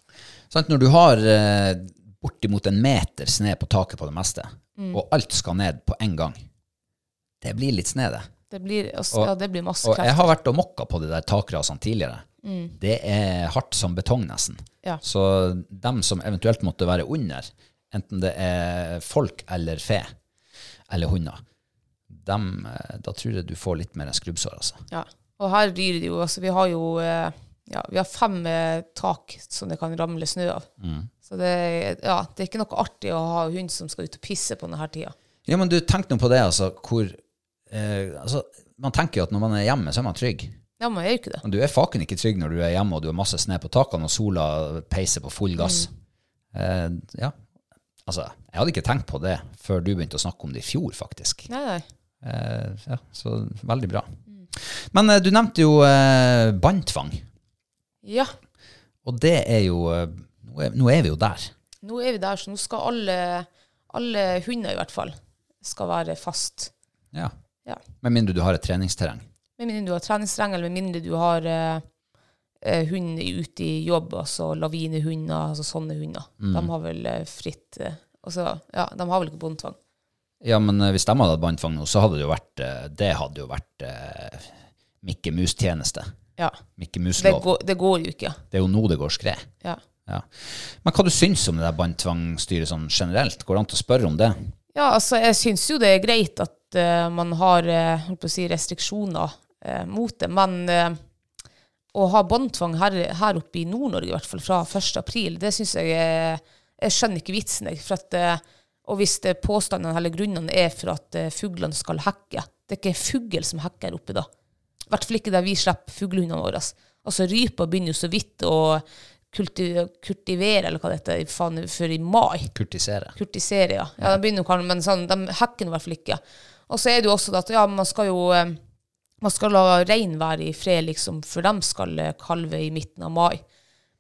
[SPEAKER 1] Sant? Når du har eh, bortimot en meter snø på taket på det meste, og alt skal ned på en gang, det blir litt snø, det.
[SPEAKER 2] Det blir, altså,
[SPEAKER 1] Og-
[SPEAKER 2] ja, det blir masse
[SPEAKER 1] Og jeg
[SPEAKER 2] krefter.
[SPEAKER 1] har vært og mokka på de der takrasene tidligere. Det er hardt som betong, nesten.
[SPEAKER 2] Ja.
[SPEAKER 1] Så dem som eventuelt måtte være under, enten det er folk eller fe eller hunder, dem, eh, da tror jeg du får litt mer enn skrubbsår, altså.
[SPEAKER 2] Ja. Og her ryr det jo altså, Vi har jo eh, ja, vi har fem eh, tak som det kan ramle snø av.
[SPEAKER 1] Mm.
[SPEAKER 2] Så det, er- ja, det er ikke noe artig å ha hund som skal ut og pisse på denne tida.
[SPEAKER 1] Ja, men du, tenk nå på det, altså, hvor eh, altså, Man tenker jo at når man er hjemme, så er man trygg.
[SPEAKER 2] Ja, men jeg er jo ikke det.
[SPEAKER 1] Men du er faken ikke trygg når du er hjemme og du har masse snø på takene og sola peiser på full gass. Eh, ja. Altså, jeg hadde ikke tenkt på det før du begynte å snakke om det i fjor, faktisk.
[SPEAKER 2] Nei, nei.
[SPEAKER 1] Eh, ja, så veldig bra. Men eh, du nevnte jo eh, bandtvang,
[SPEAKER 2] Ja.
[SPEAKER 1] og det er jo eh, nå, er, nå er vi jo der.
[SPEAKER 2] Nå er vi der, så nå skal alle, alle hunder i hvert fall skal være fast.
[SPEAKER 1] Ja.
[SPEAKER 2] Ja.
[SPEAKER 1] Med mindre du har et treningsterreng.
[SPEAKER 2] Med mindre du har treningsstreng, eller med mindre du har eh, eh, hund ute i jobb, altså lavinehunder, altså sånne hunder. De har vel eh, fritt eh, altså, ja, De har vel ikke båndtvang.
[SPEAKER 1] Ja, men eh, hvis de hadde hatt bandtvang nå, så hadde det jo vært eh, Det hadde jo vært eh, Mikke Mus-tjeneste.
[SPEAKER 2] Ja.
[SPEAKER 1] Mikke
[SPEAKER 2] Det,
[SPEAKER 1] Mus-lov.
[SPEAKER 2] går- det går jo ikke.
[SPEAKER 1] Det er jo nå det går skred.
[SPEAKER 2] Ja.
[SPEAKER 1] Ja. Men hva du syns om det der bandtvangstyret sånn generelt? Går det an til å spørre om det?
[SPEAKER 2] Ja, altså, jeg syns jo det er greit at eh, man har eh, holdt på å si, restriksjoner eh, mot det, men eh, å ha båndtvang her, her oppe i Nord-Norge, i hvert fall fra 1. april, det syns jeg eh, Jeg skjønner ikke vitsen, jeg. For at, eh, og hvis det påstandene eller grunnene er for at eh, fuglene skal hekke Det er ikke en fugl som hekker her oppe da. I hvert fall ikke der vi slipper fuglehundene våre. Altså, rypa begynner jo så vidt å kulti kultivere, eller hva det heter, faen, før i mai
[SPEAKER 1] Kurtisere.
[SPEAKER 2] kurtisere, ja. ja de begynner jo kanskje, men sånn, de hacker i hvert fall ikke. Og så er det jo også det at ja, man skal jo eh, man skal la rein være i fred, liksom, for de skal eh, kalve i midten av mai.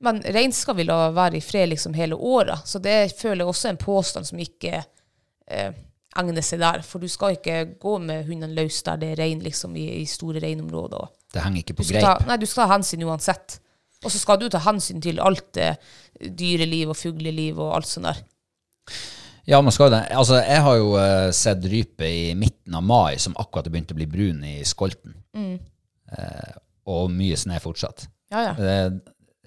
[SPEAKER 2] Men rein skal vi la være i fred liksom hele året, så det føler jeg også er en påstand som ikke eh, egner seg der. For du skal ikke gå med hundene løs der det er rein liksom, i, i store reinområder. og
[SPEAKER 1] Det henger ikke
[SPEAKER 2] du
[SPEAKER 1] på
[SPEAKER 2] skal, ta,
[SPEAKER 1] greip.
[SPEAKER 2] nei, du skal ta hensyn uansett. Og så skal du ta hensyn til alt eh, dyreliv og fugleliv og alt sånt der.
[SPEAKER 1] Ja, man skal jo det. Altså, jeg har jo eh, sett rype i midten av mai som akkurat har begynt å bli brun i skolten. Eh, og mye snø fortsatt.
[SPEAKER 2] Ja, ja.
[SPEAKER 1] Eh,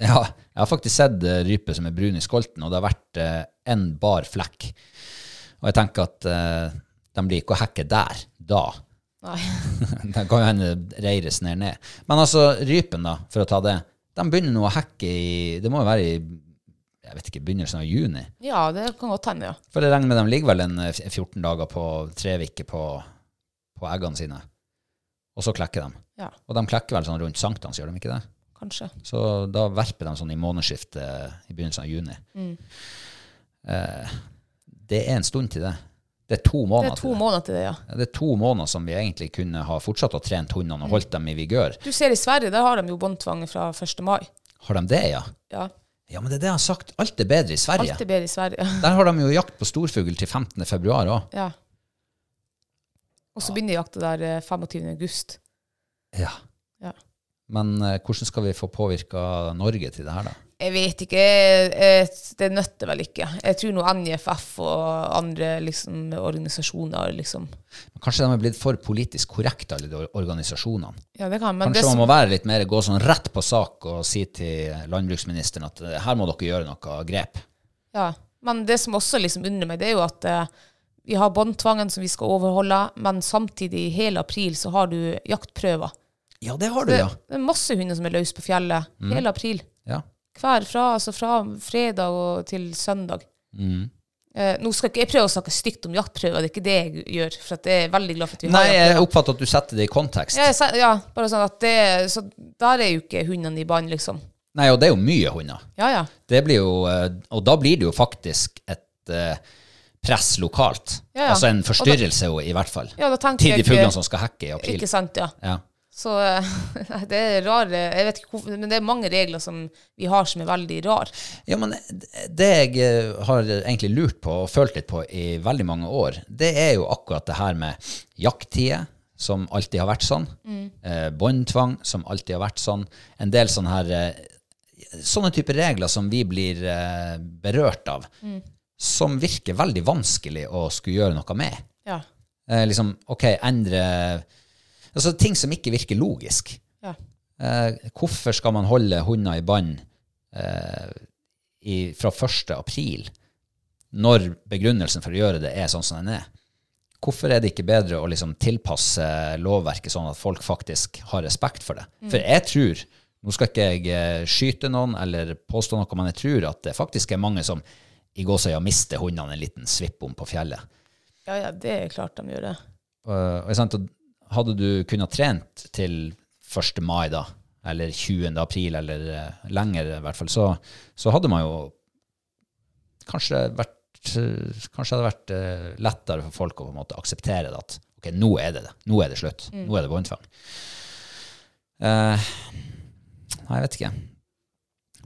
[SPEAKER 1] ja, jeg har faktisk sett eh, rype som er brun i skolten, og det har vært én bar flekk. Og jeg tenker at eh, de blir ikke å hekke der da.
[SPEAKER 2] Nei.
[SPEAKER 1] det kan jo hende reires ned ned. Men altså, rypen, da, for å ta det, de begynner nå å hekke i Det må jo være i jeg vet ikke, begynnelsen av juni.
[SPEAKER 2] Ja, det kan godt hende, ja.
[SPEAKER 1] For jeg regner med de ligger vel en eh, 14 dager på tre uker på, på eggene sine. Og så klekker de.
[SPEAKER 2] Ja,
[SPEAKER 1] Og de klekker vel sånn rundt sankthans, gjør de ikke det?
[SPEAKER 2] kanskje.
[SPEAKER 1] Så da verper de sånn i månedsskiftet i begynnelsen av juni.
[SPEAKER 2] Mm.
[SPEAKER 1] Eh, det er en stund til det. Det er to
[SPEAKER 2] Det
[SPEAKER 1] måneder
[SPEAKER 2] er to
[SPEAKER 1] til det.
[SPEAKER 2] måneder til det, ja.
[SPEAKER 1] Ja, Det er to måneder som vi egentlig kunne ha fortsatt å trent
[SPEAKER 2] Mm.
[SPEAKER 1] hundene og holdt dem i vigør.
[SPEAKER 2] Du ser i Sverige, der har de jo båndtvang fra 1. mai.
[SPEAKER 1] Har de det, ja?
[SPEAKER 2] Ja,
[SPEAKER 1] Ja, men det er det jeg har sagt. Alt er bedre i Sverige.
[SPEAKER 2] alt er bedre i Sverige.
[SPEAKER 1] Der har de jo jakt på storfugl til 15. februar òg.
[SPEAKER 2] Ja. Og så begynner jakta der eh, 25. august.
[SPEAKER 1] Ja.
[SPEAKER 2] Ja.
[SPEAKER 1] Men eh, hvordan skal vi få påvirka Norge til det her, da?
[SPEAKER 2] Jeg vet ikke, jeg- jeg- det nøtter vel ikke. Jeg tror nå NIFF og andre liksom, organisasjoner liksom.
[SPEAKER 1] Men Kanskje de er blitt for politisk korrekte, alle de or- organisasjonene.
[SPEAKER 2] Ja, det kan men
[SPEAKER 1] Kanskje
[SPEAKER 2] det
[SPEAKER 1] man
[SPEAKER 2] som,
[SPEAKER 1] må være litt mer, gå sånn rett på sak og si til landbruksministeren at eh, her må dere gjøre noe grep.
[SPEAKER 2] ja. Men det som også liksom undrer meg, det er jo at eh, vi har båndtvangen som vi skal overholde, men samtidig i hele april så har du jaktprøver.
[SPEAKER 1] Ja, det har du,
[SPEAKER 2] Det,
[SPEAKER 1] ja. Mm.
[SPEAKER 2] det er masse hunder som er løs på fjellet hele april.
[SPEAKER 1] ja.
[SPEAKER 2] Hver fra, altså fra fredag og til søndag.
[SPEAKER 1] Mm.
[SPEAKER 2] Eh, nå skal ikke jeg prøve å snakke stygt om jaktprøver, det er ikke det jeg gjør. For at jeg er veldig glad for at vi
[SPEAKER 1] Nei,
[SPEAKER 2] har
[SPEAKER 1] jeg oppfatter at du setter det i kontekst.
[SPEAKER 2] ja, jeg, sa- ja, bare sånn at det Så der er jo ikke hundene i bånd, liksom.
[SPEAKER 1] Nei, og det er jo mye hunder.
[SPEAKER 2] Ja, ja.
[SPEAKER 1] Det blir jo, eh, og da blir det jo faktisk et eh, press lokalt.
[SPEAKER 2] Ja, ja.
[SPEAKER 1] Altså en
[SPEAKER 2] Og da-
[SPEAKER 1] forstyrrelse, jo, i hvert fall.
[SPEAKER 2] Ja, da tenker
[SPEAKER 1] til de
[SPEAKER 2] jeg-
[SPEAKER 1] fuglene som skal hekke i april.
[SPEAKER 2] Ikke sant, ja.
[SPEAKER 1] Ja.
[SPEAKER 2] Så eh, det er rare Jeg vet ikke hvorfor, men det er mange regler som vi har som er veldig rare.
[SPEAKER 1] Ja, men det jeg eh, har egentlig lurt på og følt litt på i veldig mange år, det er jo akkurat det her med jakttider, som alltid har vært sånn, eh, båndtvang, som alltid har vært sånn, en del sånne her eh, sånne typer regler som vi blir eh, berørt av, som virker veldig vanskelig å skulle gjøre noe med.
[SPEAKER 2] Ja.
[SPEAKER 1] Eh, liksom, ok, endre Altså ting som ikke virker logisk.
[SPEAKER 2] ja.
[SPEAKER 1] Eh, hvorfor skal man holde hunder i bånd eh, i- fra 1. april, når begrunnelsen for å gjøre det er sånn som den er? Hvorfor er det ikke bedre å liksom tilpasse lovverket sånn at folk faktisk har respekt for det? For jeg tror, nå skal ikke jeg eh, skyte noen eller påstå noe, men jeg tror at det faktisk er mange som i gåsøya mister hundene en liten svippbom på fjellet.
[SPEAKER 2] Ja, ja, det er klart de gjør det.
[SPEAKER 1] Eh, og, sant, og hadde du kunnet trent til 1. mai, da, eller 20. april, eller eh, lenger i hvert fall, så, så hadde man jo kanskje vært eh, Kanskje hadde det vært eh, lettere for folk å på en måte akseptere det at Ok, nå er det det. Nå er det slutt. Nå er det båndtvang. Eh, nei, jeg vet ikke.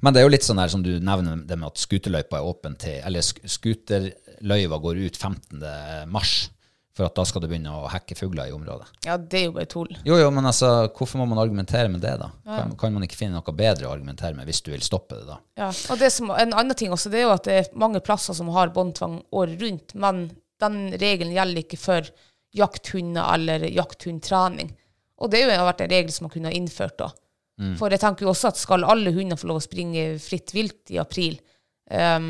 [SPEAKER 1] Men det er jo litt sånn der som du nevner det med at skuterløypa er åpen til Eller sk skuterløyva går ut 15. mars, for at da skal du begynne å hekke fugler i området.
[SPEAKER 2] Ja, det er jo bare tull.
[SPEAKER 1] Jo, jo, men altså, hvorfor må man argumentere med det, da? Kan, kan man ikke finne noe bedre å argumentere med hvis du vil stoppe det, da?
[SPEAKER 2] Ja. Og det som, en annen ting også, det er jo at det er mange plasser som har båndtvang året rundt, men den regelen gjelder ikke for jakthunder eller jakthundtrening. Og det er jo har vært en regel som man kunne ha innført da. For jeg tenker jo også at skal alle hunder få lov å springe fritt vilt i april ehm,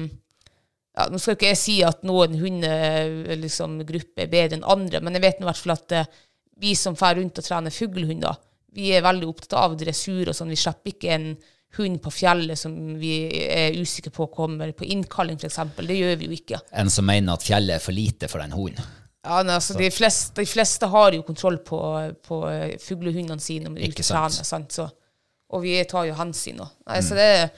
[SPEAKER 2] ja, Nå skal jo ikke jeg si at noen hundegrupper liksom, grupper er bedre enn andre, men jeg vet nå i hvert fall at eh, vi som drar rundt og trener fuglehunder, vi er veldig opptatt av dressur og sånn. Vi slipper ikke en hund på fjellet som vi er usikre på kommer på innkalling, f.eks. Det gjør vi jo ikke.
[SPEAKER 1] En som mener at fjellet er for lite for den hunden.
[SPEAKER 2] Ja, nei, altså, de, fleste, de fleste har jo kontroll på, på eh, fuglehundene sine når de er ute
[SPEAKER 1] Ikke
[SPEAKER 2] og
[SPEAKER 1] sant. Mm.
[SPEAKER 2] trener. Sant? Så, og vi tar jo hensyn. Og. Nei, Så det er-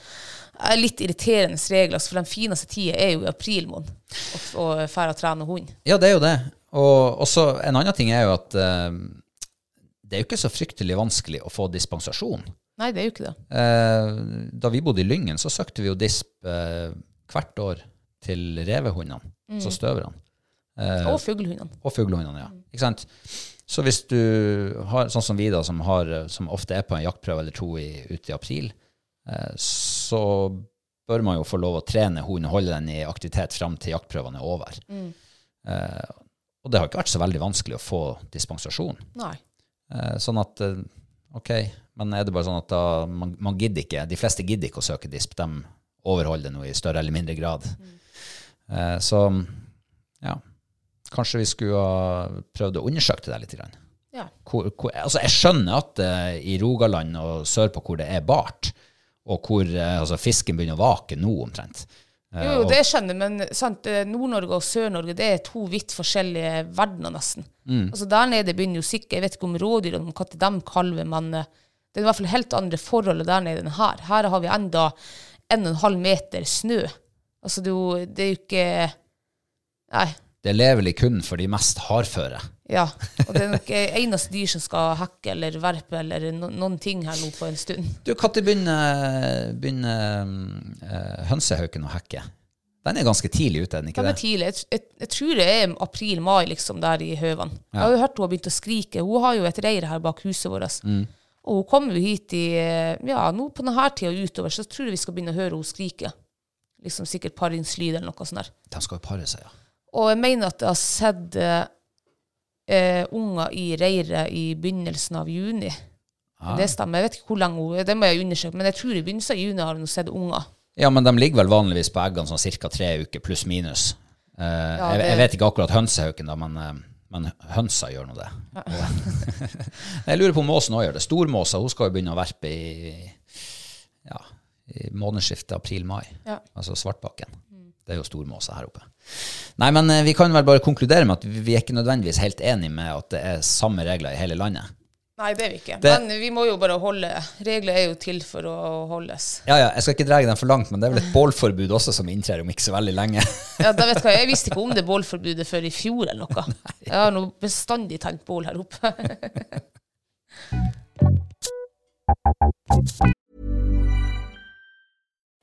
[SPEAKER 2] er litt irriterende regler, altså, for den fineste tida er jo i april måned å f- å dra og trene hund.
[SPEAKER 1] Ja, det er jo det. Og og så en annen ting er jo at eh, det er jo ikke så fryktelig vanskelig å få dispensasjon.
[SPEAKER 2] Nei, det er jo ikke det.
[SPEAKER 1] Eh, da vi bodde i Lyngen, så søkte vi jo disp eh, hvert år til revehundene, så støverne,
[SPEAKER 2] Og fuglehundene.
[SPEAKER 1] og fuglehundene, ja. Ikke sant? Så hvis du har, sånn som vi da, som, har, eh, som ofte er på en jaktprøve eller to i, ute i april, eh, så bør man jo få lov å trene hunden, holde den i aktivitet fram til jaktprøvene er over. Eh, og det har ikke vært så veldig vanskelig å få dispensasjon.
[SPEAKER 2] Nei.
[SPEAKER 1] Eh, Sånn at eh, OK, men er det bare sånn at da, man, man gidder ikke De fleste gidder ikke å søke DISP. De overholder det nå i større eller mindre grad. Eh, Så ja, kanskje vi skulle ha prøvd å undersøke det der litt. Grann.
[SPEAKER 2] Ja.
[SPEAKER 1] Hvor, hvor, altså jeg skjønner at eh, i Rogaland og sørpå hvor det er bart, og hvor eh, altså fisken begynner å vake nå omtrent eh,
[SPEAKER 2] Jo, jo,
[SPEAKER 1] og-
[SPEAKER 2] det skjønner jeg, men sant, eh, Nord-Norge og Sør-Norge det er to vidt forskjellige verdener, nesten. Altså Der nede begynner jo sikkert Jeg vet ikke om rådyrene, om når de kalver, men eh, det er i hvert fall helt andre forhold der nede enn her. Her har vi enda en og en halv meter snø. Altså, det er jo, det er jo ikke Nei.
[SPEAKER 1] Det er levelig kun for de mest hardføre.
[SPEAKER 2] Ja. Og det er nok eh, eneste dyr som skal hekke eller verpe eller no, noen ting her nå på en stund.
[SPEAKER 1] Du, når begynner, begynner eh, hønsehauken å hekke? Den er ganske tidlig ute, er den ikke
[SPEAKER 2] Den er
[SPEAKER 1] det?
[SPEAKER 2] tidlig. Jeg, tr- jeg, jeg tror det er april-mai, liksom, der i høvene. Jeg har jo hørt hun har begynt å skrike. Hun har jo et reir her bak huset vårt. Og hun kommer jo hit i eh, Ja, nå på denne tida utover, så tror jeg vi skal begynne å høre hun skrike. Liksom sikkert paringslyd eller noe sånt der.
[SPEAKER 1] De skal jo pare seg, ja.
[SPEAKER 2] Og jeg mener at jeg har sett eh, eh, unger i reiret i begynnelsen av juni. Det stemmer. Jeg vet ikke hvor lenge hun Det må jeg undersøke, men jeg tror i begynnelsen av juni har hun sett unger.
[SPEAKER 1] Ja, men de ligger vel vanligvis på eggene sånn ca. tre uker, pluss minus. Eh, jeg,
[SPEAKER 2] det-
[SPEAKER 1] jeg vet ikke akkurat hønsehauken, da, men, eh, men hønsa gjør nå det. jeg lurer på om måsen òg gjør det. Stormåsa hun skal jo begynne å verpe i, ja, i månedsskiftet april-mai.
[SPEAKER 2] Ja. Mm.
[SPEAKER 1] Altså Svartbakken. Det er jo stormåsa her oppe. Nei, men eh, vi kan vel bare konkludere med at vi vi er ikke nødvendigvis helt enige med at det er samme regler i hele landet.
[SPEAKER 2] Nei, det er vi ikke.
[SPEAKER 1] Det-
[SPEAKER 2] Men vi må jo bare holde Regler er jo til for å holdes.
[SPEAKER 1] Ja, ja, Jeg skal ikke dra den for langt, men det er vel et bålforbud også som inntrer om ikke så veldig lenge.
[SPEAKER 2] Ja, da vet du hva, Jeg visste ikke om det bålforbudet før i fjor eller noe. Jeg har nå bestandig tent bål her oppe.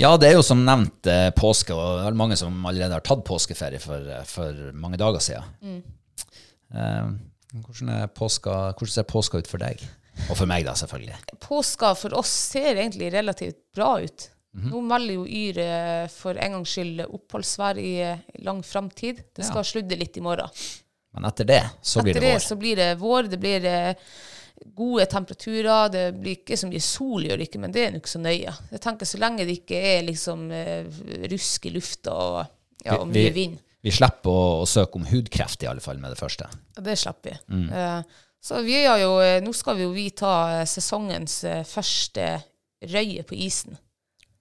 [SPEAKER 1] Ja, det er jo som nevnt eh, påske, og det er vel mange som allerede har tatt påskeferie for, eh, for mange dager siden.
[SPEAKER 2] Mm.
[SPEAKER 1] Eh, hvordan, er påska, hvordan ser påska ut for deg? Og for meg, da, selvfølgelig.
[SPEAKER 2] Påska for oss ser egentlig relativt bra ut. Nå melder jo Yr eh, for en gangs skyld oppholdsvær i eh, lang framtid. Det skal sludde litt i morgen.
[SPEAKER 1] Men etter det så blir
[SPEAKER 2] Etter
[SPEAKER 1] det
[SPEAKER 2] det,
[SPEAKER 1] vår.
[SPEAKER 2] så blir det vår. Det blir eh, gode temperaturer. Det blir ikke så mye sol, gjør det ikke, men det er nå ikke så nøye. Jeg tenker Så lenge det ikke er liksom eh, rusk i lufta og, ja, og mye vind.
[SPEAKER 1] vi slipper å, å søke om hudkreft, i alle fall, med det første.
[SPEAKER 2] Ja, det slipper vi.
[SPEAKER 1] Mm.
[SPEAKER 2] Eh, så vi har jo, eh, nå skal vi jo vi ta eh, sesongens eh, første røye på isen.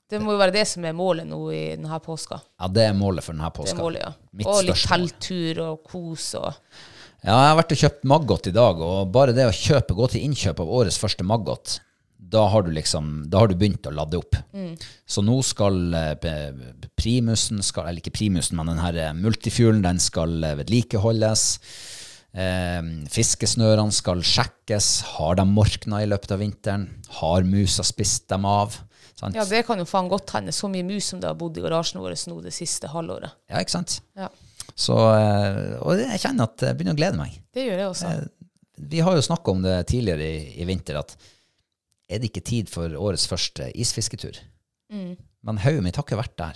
[SPEAKER 2] Det må jo være det som er målet nå i denne påska.
[SPEAKER 1] Ja, Det er målet for denne
[SPEAKER 2] Det er
[SPEAKER 1] påska.
[SPEAKER 2] målet, ja.
[SPEAKER 1] Mitt
[SPEAKER 2] Og litt
[SPEAKER 1] største mål.
[SPEAKER 2] telttur og kos og
[SPEAKER 1] Ja, jeg har vært og kjøpt maggot i dag, og bare det å kjøpe, gå til innkjøp av årets første maggot, da har du liksom, da har du begynt å lade opp. Så nå skal eh, p- p- primusen, skal, eller ikke primusen, men den her eh, multifuelen, den skal eh, vedlikeholdes. Eh, fiskesnørene skal sjekkes. Har de morkna i løpet av vinteren? Har musa spist dem av? Sant?
[SPEAKER 2] Ja, det kan jo faen godt hende. Så mye mus som det har bodd i garasjen vår nå det siste halvåret.
[SPEAKER 1] ja, ikke sant?
[SPEAKER 2] Ja,
[SPEAKER 1] Så, eh, og jeg kjenner at jeg begynner å glede meg.
[SPEAKER 2] det gjør jeg også.
[SPEAKER 1] Vi har jo snakka om det tidligere i, i vinter, at er det ikke tid for årets første isfisketur? Men hodet mitt har ikke vært der.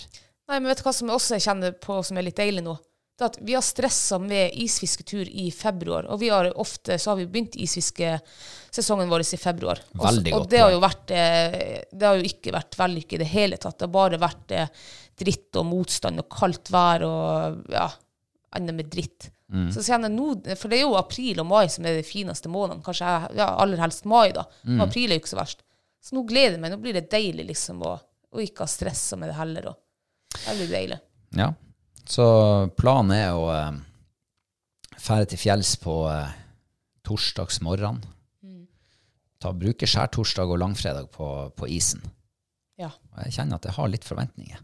[SPEAKER 2] Nei, men vet du hva som jeg også kjenner på som er litt deilig nå? Det er at vi har stressa med isfisketur i februar, og vi har ofte så har vi begynt isfiskesesongen vår i februar. Og,
[SPEAKER 1] Veldig
[SPEAKER 2] og
[SPEAKER 1] godt
[SPEAKER 2] det har
[SPEAKER 1] poeng.
[SPEAKER 2] jo vært eh, Det har jo ikke vært vellykket i det hele tatt. Det har bare vært eh, dritt og motstand og kaldt vær og ja, enda med dritt.
[SPEAKER 1] Mm.
[SPEAKER 2] Så jeg kjenner nå, For det er jo april og mai som er de fineste månedene. Kanskje jeg- ja, aller helst mai, da.
[SPEAKER 1] Mm.
[SPEAKER 2] Men april er jo ikke så verst. Så nå gleder jeg meg. Nå blir det deilig liksom å, å ikke ha stressa med det heller. Og. Det blir deilig.
[SPEAKER 1] Ja. Så planen er å eh, fære til fjells på eh, torsdagsmorgen. Ta, bruke skjærtorsdag og langfredag på, på isen.
[SPEAKER 2] Ja,
[SPEAKER 1] Og jeg kjenner at jeg har litt forventninger.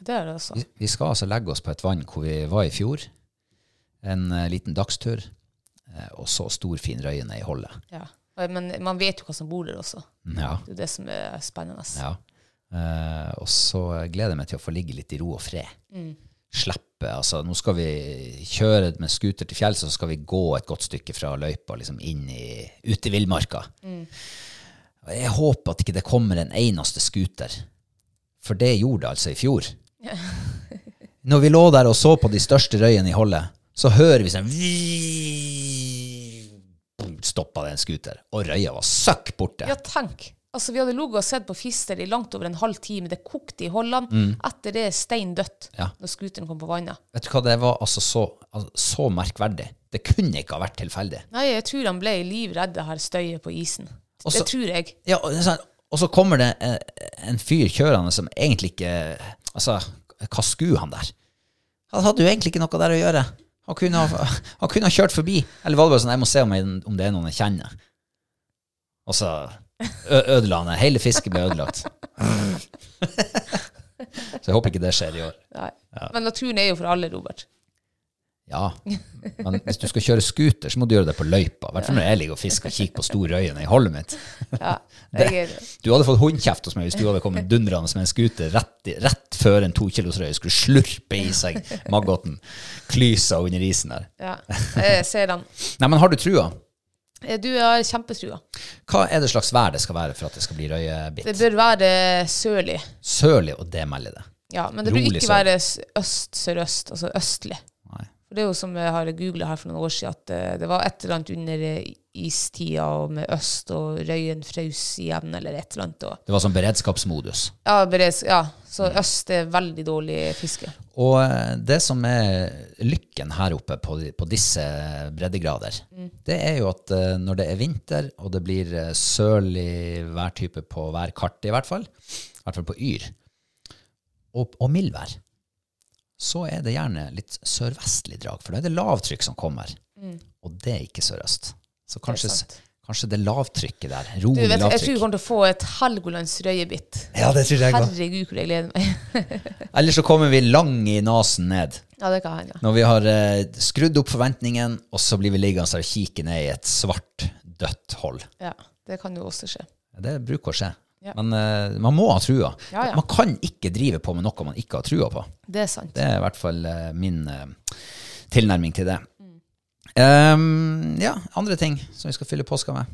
[SPEAKER 2] det er det også.
[SPEAKER 1] Vi, vi skal altså legge oss på et vann hvor vi var i fjor. En eh, liten dagstur. eh, og så stor, fin røye ned i holdet.
[SPEAKER 2] Ja. Og- Men man vet jo hva som bor der også.
[SPEAKER 1] Ja.
[SPEAKER 2] Det er jo det som er spennende.
[SPEAKER 1] Ja. Eh, og så gleder jeg meg til å få ligge litt i ro og fred. Slippe. Altså, nå skal vi kjøre med scooter til fjells, og så skal vi gå et godt stykke fra løypa liksom inn i, ut i villmarka. Og Jeg håper at ikke det kommer en eneste scooter, for det gjorde det altså i fjor. Når vi lå der og så på de største røyene i holdet, så hører vi sånn Stoppa det en scooter, og røya var søkk borte.
[SPEAKER 2] Ja, tenk. Altså, Vi hadde ligget og sett på Fister i langt over en halv time. Det kokte i Holland. Etter det er stein dødt
[SPEAKER 1] Mm. Ja.
[SPEAKER 2] når scooteren kom på vannet.
[SPEAKER 1] Vet du hva, det var altså så, altså, så merkverdig. Det kunne ikke ha vært tilfeldig.
[SPEAKER 2] Nei, jeg tror han ble livredd det her støyet på isen.
[SPEAKER 1] Og så-
[SPEAKER 2] det tror jeg.
[SPEAKER 1] Ja, og, det er sånn, og så kommer det en, en fyr kjørende som egentlig ikke Altså, hva skulle han der? Han hadde jo egentlig ikke noe der å gjøre. Han kunne ha, han kunne ha kjørt forbi. Eller var det bare sånn, jeg må se om, jeg, om det er noen jeg kjenner. Og så ø- ødela han det. Hele fisket ble ødelagt. Så jeg håper ikke det skjer i år.
[SPEAKER 2] Nei. Men naturen er jo for alle, Robert.
[SPEAKER 1] Ja, men hvis du skal kjøre scooter, så må du gjøre det på løypa. I hvert fall når jeg ligger og fisker og kikker på storøyene i holdet mitt.
[SPEAKER 2] Ja,
[SPEAKER 1] Det-
[SPEAKER 2] jeg er...
[SPEAKER 1] Du hadde fått hundkjeft hos meg hvis du hadde kommet dundrende med en scooter rett, i- rett før en tokilosrøye skulle slurpe i seg maggoten. Klysa under isen der.
[SPEAKER 2] Ja, jeg ser han.
[SPEAKER 1] Nei, men har du trua?
[SPEAKER 2] Eh, Du har kjempetrua.
[SPEAKER 1] Hva er det slags vær det skal være for at det skal bli
[SPEAKER 2] Det
[SPEAKER 1] røyebitt?
[SPEAKER 2] bør være sørlig.
[SPEAKER 1] Sørlig, og det melder det.
[SPEAKER 2] Ja, men det bør
[SPEAKER 1] Rolig
[SPEAKER 2] ikke
[SPEAKER 1] sørg.
[SPEAKER 2] være s- øst-sørøst, altså østlig.
[SPEAKER 1] Nei.
[SPEAKER 2] For det er jo som jeg har googla her for noen år siden, at eh, det var et eller annet under eh, istida og med øst, og røyen frøs igjen, eller et eller annet. Og,
[SPEAKER 1] Det var sånn beredskapsmodus.
[SPEAKER 2] ja, beres, ja, så
[SPEAKER 1] Mm.
[SPEAKER 2] øst er veldig dårlig fiske.
[SPEAKER 1] Og eh, det som er lykken her oppe på, på disse breddegrader,
[SPEAKER 2] Mm.
[SPEAKER 1] det er jo at eh, når det er vinter, og det blir eh, sørlig værtype på hver kart i hvert fall, i hvert fall på Yr, og, og mildvær, så er det gjerne litt sørvestlig drag, for da er det lavtrykk som kommer. Og det er ikke sørøst. Så kanskje det,
[SPEAKER 2] Mm. sant.
[SPEAKER 1] kanskje det lavtrykket der,
[SPEAKER 2] Du,
[SPEAKER 1] rolig
[SPEAKER 2] vet, jeg tror vi
[SPEAKER 1] lavtrykk
[SPEAKER 2] kommer til å få et Helgolands røyebitt.
[SPEAKER 1] Ja, det tror jeg også.
[SPEAKER 2] Herregud, hvor jeg gleder meg.
[SPEAKER 1] Ellers så kommer vi lang i nasen ned.
[SPEAKER 2] Ja, det kan hende.
[SPEAKER 1] Når vi har eh, skrudd opp forventningen, og så blir vi liggende og kikke ned i et svart, dødt hold.
[SPEAKER 2] Ja, det kan jo også skje.
[SPEAKER 1] Det bruker å skje.
[SPEAKER 2] Ja.
[SPEAKER 1] Men eh, man må ha trua.
[SPEAKER 2] Ja, ja.
[SPEAKER 1] Man kan ikke drive på med noe man ikke har trua på.
[SPEAKER 2] Det er sant.
[SPEAKER 1] Det er i hvert fall eh, min eh,
[SPEAKER 2] Mm.
[SPEAKER 1] tilnærming til det. Ehm, ja, andre ting som vi skal fylle påska med.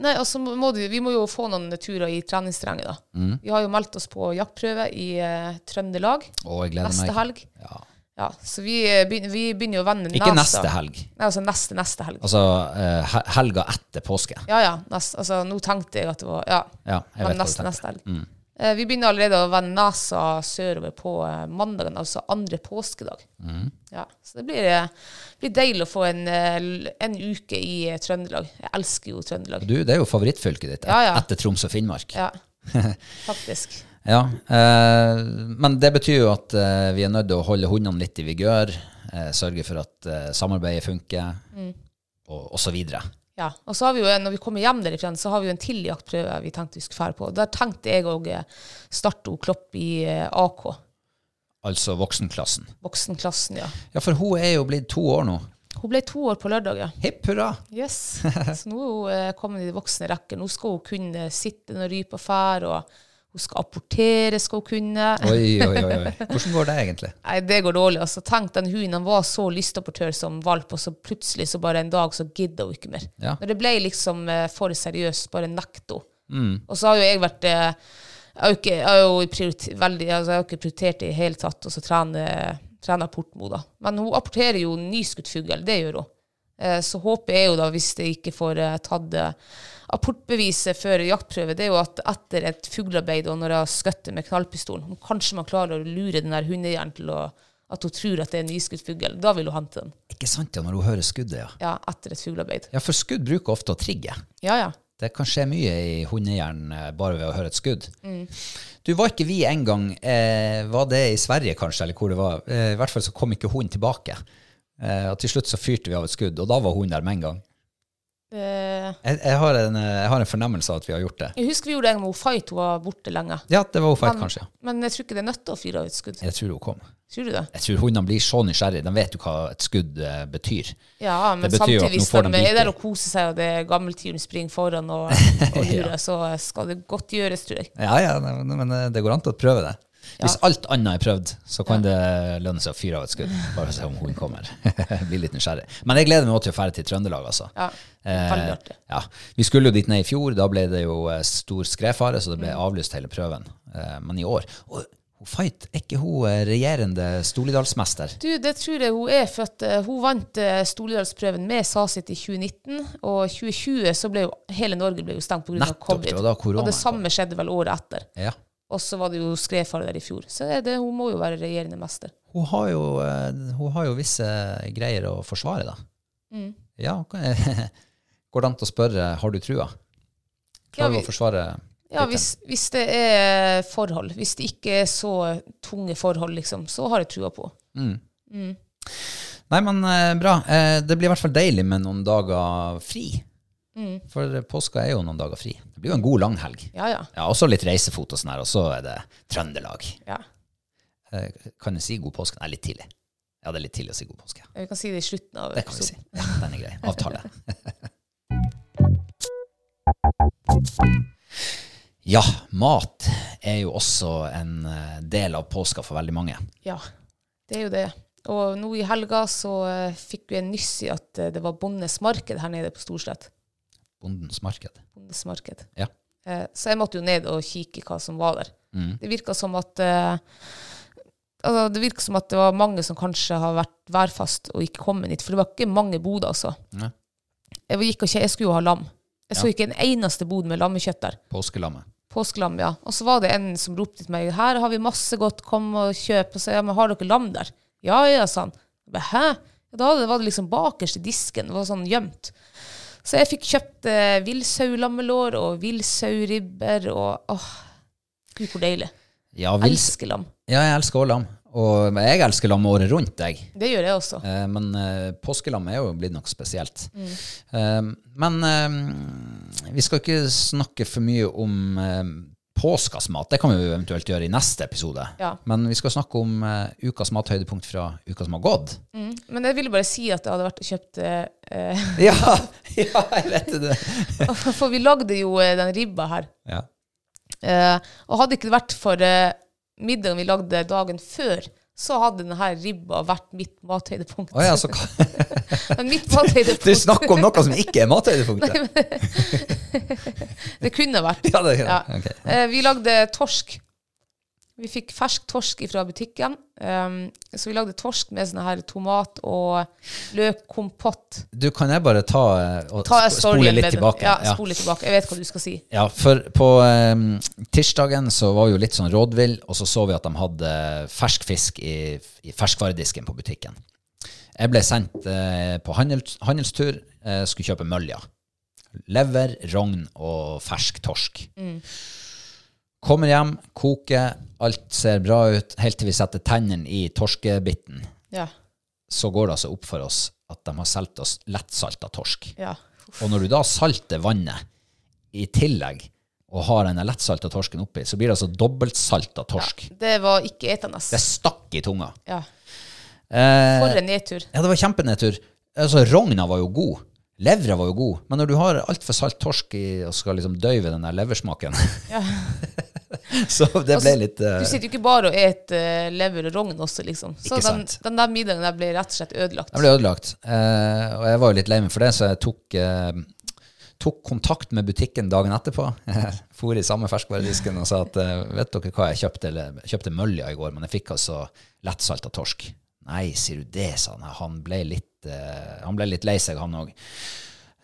[SPEAKER 2] Nei, altså må du, Vi må jo få noen turer i treningsterrenget, da.
[SPEAKER 1] Mm.
[SPEAKER 2] Vi har jo meldt oss på jaktprøve i eh, Trøndelag
[SPEAKER 1] Å, jeg gleder
[SPEAKER 2] neste
[SPEAKER 1] meg.
[SPEAKER 2] helg.
[SPEAKER 1] Ja.
[SPEAKER 2] Ja, så vi, eh, begyn- vi begynner jo å vende
[SPEAKER 1] Ikke
[SPEAKER 2] nesa.
[SPEAKER 1] neste helg.
[SPEAKER 2] Nei, altså neste neste helg.
[SPEAKER 1] Altså eh, hel- helga etter påske.
[SPEAKER 2] Ja, ja. Nest, altså, nå tenkte jeg at det var Ja,
[SPEAKER 1] Ja, jeg vet
[SPEAKER 2] men
[SPEAKER 1] hva du
[SPEAKER 2] neste,
[SPEAKER 1] tenker. Mm.
[SPEAKER 2] neste helg. Eh, Vi begynner allerede å vende nesa sørover på eh, mandagen, altså andre påskedag.
[SPEAKER 1] Mm.
[SPEAKER 2] Ja, så det blir, eh, blir deilig å få en, eh, l- en uke i eh, Trøndelag. Jeg elsker jo Trøndelag.
[SPEAKER 1] Du, det er jo favorittfylket ditt et,
[SPEAKER 2] Ja, ja.
[SPEAKER 1] etter Troms og Finnmark.
[SPEAKER 2] Ja, faktisk.
[SPEAKER 1] Ja, eh, men det betyr jo at eh, vi er nødt til å holde hundene litt i vigør, eh, sørge for at eh, samarbeidet funker, og, og så videre.
[SPEAKER 2] Ja, og så har vi jo, en- Når vi kommer hjem derifra, så har vi jo en til jaktprøve vi tenkte vi skulle fære på. Der tenkte jeg òg starte hun Klopp i eh, AK,
[SPEAKER 1] Altså voksenklassen.
[SPEAKER 2] voksenklassen. ja.
[SPEAKER 1] Ja, for hun er jo blitt to år nå.
[SPEAKER 2] Hun ble to år på lørdag, ja.
[SPEAKER 1] Hipp hurra!
[SPEAKER 2] Yes. Så nå er hun eh, kommet i de voksne rekker. Nå skal hun kunne sitte når rypa fær, og hun skal apportere skal hun kunne.
[SPEAKER 1] Oi, oi, oi. oi. Hvordan går det egentlig?
[SPEAKER 2] Nei, det går dårlig. altså. Tenk, den hunden han var så lystapportør som valp, og så plutselig så bare en dag så gidder hun ikke mer.
[SPEAKER 1] Ja.
[SPEAKER 2] Når det ble liksom eh, for seriøst, bare nekter hun. Og så har jo jeg vært eh, Jeg har jo ikke, jeg har jo prioriter, veldig, altså, jeg har jo ikke prioritert det i det hele tatt, og så trener, trener Portmo, da. Men hun apporterer jo nyskutt fugl, det gjør hun. Eh, Så håpet er jo da, hvis det ikke får eh, tatt eh, apportbeviset før jaktprøve, det er jo at etter et fuglearbeid og når jeg har skutt det med knallpistolen, om kanskje man klarer å lure den der hundejegeren til å, at hun tror at det er en nyskutt fugl, da vil hun hente den.
[SPEAKER 1] Ikke sant, ja, når hun hører skuddet, ja.
[SPEAKER 2] Ja, etter et fuglearbeid.
[SPEAKER 1] Ja, for skudd bruker ofte å trigge.
[SPEAKER 2] Ja, ja.
[SPEAKER 1] Det kan skje mye i hundehjernen eh, bare ved å høre et skudd. Du, var ikke vi en gang, eh, var det i Sverige kanskje, eller hvor det var, eh, i hvert fall så kom ikke hunden tilbake. Eh, og til slutt så fyrte vi av et skudd, og da var hunden der med en gang.
[SPEAKER 2] Eh,
[SPEAKER 1] Jeg, jeg, har en, eh, jeg har en fornemmelse av at vi har gjort det.
[SPEAKER 2] Jeg husker vi gjorde det med hun Fight, hun var borte lenge.
[SPEAKER 1] Ja, det var hun feil
[SPEAKER 2] Men-
[SPEAKER 1] kanskje. ja.
[SPEAKER 2] Men jeg tror ikke det er nødt til å fyre av et skudd.
[SPEAKER 1] Jeg tror hun kom.
[SPEAKER 2] Tror du det?
[SPEAKER 1] Jeg tror hundene blir så nysgjerrige, de vet jo hva et skudd eh, betyr.
[SPEAKER 2] Ja, men
[SPEAKER 1] betyr jo at
[SPEAKER 2] samtidig
[SPEAKER 1] nå
[SPEAKER 2] hvis
[SPEAKER 1] får
[SPEAKER 2] de
[SPEAKER 1] de bite.
[SPEAKER 2] er der og koser seg, og det er gammeltyren springer foran og, og lurer, så skal det godt gjøres, tror jeg.
[SPEAKER 1] Ja, ja, ne- ne- men eh, det går an til å prøve det. Hvis alt annet er prøvd, så kan det lønne seg å fyre av et skudd. Bare se om hun kommer. Bli litt nysgjerrig. Men jeg gleder meg også til å dra til Trøndelag, altså.
[SPEAKER 2] Ja, veldig artig.
[SPEAKER 1] ja. Vi skulle jo dit ned i fjor, da ble det jo eh, stor skredfare, så det
[SPEAKER 2] Mm.
[SPEAKER 1] ble avlyst hele prøven. Eh, Men i år og hun Fight, er ikke hun eh, regjerende Stolidalsmester?
[SPEAKER 2] Du, det tror jeg hun er, for at eh, hun vant eh, Stordalsprøven med Sasit i 2019, og 2020 så ble jo hele Norge ble jo stengt pga.
[SPEAKER 1] Nettopp,
[SPEAKER 2] covid.
[SPEAKER 1] det var da koronaen
[SPEAKER 2] og det
[SPEAKER 1] kom.
[SPEAKER 2] samme skjedde vel året etter.
[SPEAKER 1] Ja.
[SPEAKER 2] Og så var det jo skredfare der i fjor. Så det, er det, hun må jo være regjerende mester.
[SPEAKER 1] Hun har jo, eh, hun har jo visse greier å forsvare, da.
[SPEAKER 2] Mm.
[SPEAKER 1] Ja, ok. går det an til å spørre har du trua?
[SPEAKER 2] Ja,
[SPEAKER 1] Klarer hun
[SPEAKER 2] vi-
[SPEAKER 1] å forsvare
[SPEAKER 2] Ja, hvis, hvis det er forhold, hvis det ikke er så tunge forhold, liksom, så har jeg trua på.
[SPEAKER 1] Nei, men eh, bra. Eh, det blir i hvert fall deilig med noen dager fri.
[SPEAKER 2] Mm.
[SPEAKER 1] For eh, påska er jo noen dager fri. Det blir jo en god lang helg.
[SPEAKER 2] Ja, ja.
[SPEAKER 1] Ja, Og så litt reisefot og sånn her, og så er det Trøndelag.
[SPEAKER 2] ja.
[SPEAKER 1] Eh, kan jeg si god påske? Nei, litt tidlig. Ja, det er litt tidlig å si god påske.
[SPEAKER 2] Vi kan si det i slutten av
[SPEAKER 1] Det kan vi si. Ja, den er grei. Avtale. Ja, mat er jo også en eh, del av påska for veldig mange.
[SPEAKER 2] Ja, det er jo det. Og nå i helga så eh, fikk vi en nyss i at eh, det var Bondenes marked her nede på Storslett.
[SPEAKER 1] Bondens marked.
[SPEAKER 2] Bondenes marked.
[SPEAKER 1] Ja.
[SPEAKER 2] Eh, så jeg måtte jo ned og kikke hva som var der. Det virka som at eh, altså, Det virka som at det var mange som kanskje har vært værfast og ikke kommet hit. For det var ikke mange boder, altså.
[SPEAKER 1] Nei.
[SPEAKER 2] Jeg, gikk og kje- jeg skulle jo ha lam. Jeg så ikke en eneste bod med lammekjøtt der.
[SPEAKER 1] Påskelammet.
[SPEAKER 2] Påskelam, ja. Og så var det en som ropte til meg her har vi masse godt, kom og kjøp. Og så ja, men har dere lam der? Ja, ja, sa han. Jeg ba, Hæ? Ja, Da var det liksom bakerst i disken, det var sånn gjemt. Så jeg fikk kjøpt eh, villsaulammelår og villsauribber og åh, gud hvor deilig.
[SPEAKER 1] Ja, vils,
[SPEAKER 2] Elsker lam.
[SPEAKER 1] Ja, jeg elsker også lam. Og men jeg elsker lam året rundt, jeg.
[SPEAKER 2] Det gjør jeg også.
[SPEAKER 1] Eh, Men eh, påskelam er jo blitt noe spesielt.
[SPEAKER 2] Mm.
[SPEAKER 1] Eh, Men eh, vi skal ikke snakke for mye om eh, påskas mat. Det kan vi jo eventuelt gjøre i neste episode.
[SPEAKER 2] Ja.
[SPEAKER 1] Men vi skal snakke om eh, ukas mathøydepunkt fra uka som har gått.
[SPEAKER 2] Men jeg ville bare si at jeg hadde vært og kjøpt eh,
[SPEAKER 1] Ja, ja, jeg vet det.
[SPEAKER 2] eh, For vi lagde jo eh, den ribba her.
[SPEAKER 1] Ja.
[SPEAKER 2] Eh, og hadde ikke det vært for eh, middagen vi lagde dagen før, så hadde denne ribba vært mitt mathøydepunkt.
[SPEAKER 1] Å ja, så hva-
[SPEAKER 2] Men mitt
[SPEAKER 1] Du
[SPEAKER 2] mathøydepunkt
[SPEAKER 1] snakker om noe som ikke er mathøydepunktet!
[SPEAKER 2] Det kunne vært.
[SPEAKER 1] Ja, det,
[SPEAKER 2] Ja.
[SPEAKER 1] ok.
[SPEAKER 2] Eh, vi lagde torsk. Vi fikk fersk torsk fra butikken. ehm, så vi lagde torsk med sånne her tomat- og løkkompott.
[SPEAKER 1] Du, kan jeg bare ta eh, og
[SPEAKER 2] Ta
[SPEAKER 1] sp-
[SPEAKER 2] storyen
[SPEAKER 1] spole litt
[SPEAKER 2] med den.
[SPEAKER 1] tilbake?
[SPEAKER 2] Ja,
[SPEAKER 1] Ja.
[SPEAKER 2] spole tilbake. Jeg vet hva du skal si.
[SPEAKER 1] Ja, for på em, tirsdagen så var vi jo litt sånn rådvill, og så så vi at de hadde fersk fisk i, i ferskvaredisken på butikken. Jeg ble sendt eh, på handels, handelstur, eh, skulle kjøpe mølja. Lever, rogn og fersk torsk. Kommer hjem, koker, alt ser bra ut, helt til vi setter tennene i torskebiten.
[SPEAKER 2] Ja.
[SPEAKER 1] Så går det altså opp for oss at de har solgt oss lettsalta torsk.
[SPEAKER 2] ja.
[SPEAKER 1] Og når du da salter vannet i tillegg og har denne lettsalta torsken oppi, så blir det altså dobbeltsalta torsk.
[SPEAKER 2] Det var ikke etende.
[SPEAKER 1] Det stakk i tunga.
[SPEAKER 2] Ja.
[SPEAKER 1] Eh,
[SPEAKER 2] For en nedtur.
[SPEAKER 1] ja, det var kjempenedtur. Altså, Rogna var jo god. Levra var jo god. Men når du har altfor salt torsk i og skal liksom døyve den der leversmaken Så det ble litt eh,
[SPEAKER 2] Du sitter jo ikke bare og et eh, lever og rogn også, liksom. Så
[SPEAKER 1] Ikke
[SPEAKER 2] den,
[SPEAKER 1] sant.
[SPEAKER 2] den der middagen der ble rett og slett ødelagt.
[SPEAKER 1] Jeg ble ødelagt. Eh, og jeg var jo litt lei meg for det, så jeg tok, eh, tok kontakt med butikken dagen etterpå. For i samme ferskvaredisken og sa at eh, vet dere hva jeg kjøpte? Eller, jeg kjøpte mølja i går, men jeg fikk altså lettsalta torsk. Nei, sier du det, sa han. Han ble litt, eh, han ble litt lei seg, han òg.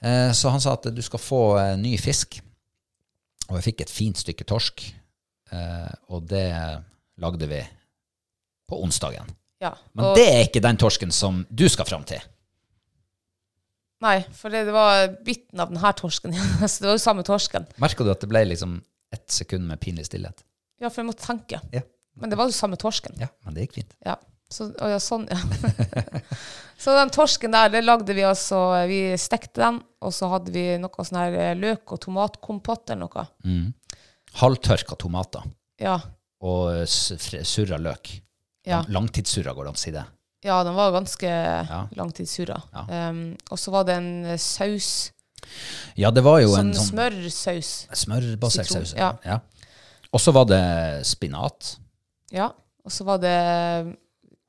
[SPEAKER 1] Eh, så han sa at du skal få eh, ny fisk. Og jeg fikk et fint stykke torsk, eh, og det lagde vi på onsdagen.
[SPEAKER 2] Ja.
[SPEAKER 1] Men
[SPEAKER 2] og-
[SPEAKER 1] det er ikke den torsken som du skal fram til.
[SPEAKER 2] Nei, for det, det var biten av denne torsken. så det var jo samme torsken.
[SPEAKER 1] Merka du at det ble liksom ett sekund med pinlig stillhet?
[SPEAKER 2] Ja, for jeg måtte tenke.
[SPEAKER 1] Ja.
[SPEAKER 2] Men det var jo samme torsken.
[SPEAKER 1] ja men det gikk fint.
[SPEAKER 2] Ja. Så, å ja, sånn, ja. så den torsken der, det lagde vi altså Vi stekte den, og så hadde vi noe sånn her eh, løk- og tomatkompott eller noe.
[SPEAKER 1] Halvtørka tomater
[SPEAKER 2] Ja.
[SPEAKER 1] og s- fr- surra løk.
[SPEAKER 2] Ja.
[SPEAKER 1] Langtidssurra, går det an å si det.
[SPEAKER 2] ja, den var ganske langtidssura.
[SPEAKER 1] Ja.
[SPEAKER 2] Um, og så var det en eh, saus,
[SPEAKER 1] Ja, det var jo
[SPEAKER 2] sånn
[SPEAKER 1] en sånn
[SPEAKER 2] smørsaus.
[SPEAKER 1] smørbasert
[SPEAKER 2] Sitron,
[SPEAKER 1] saus.
[SPEAKER 2] ja.
[SPEAKER 1] Ja. Og så var det spinat.
[SPEAKER 2] Ja. Og så var det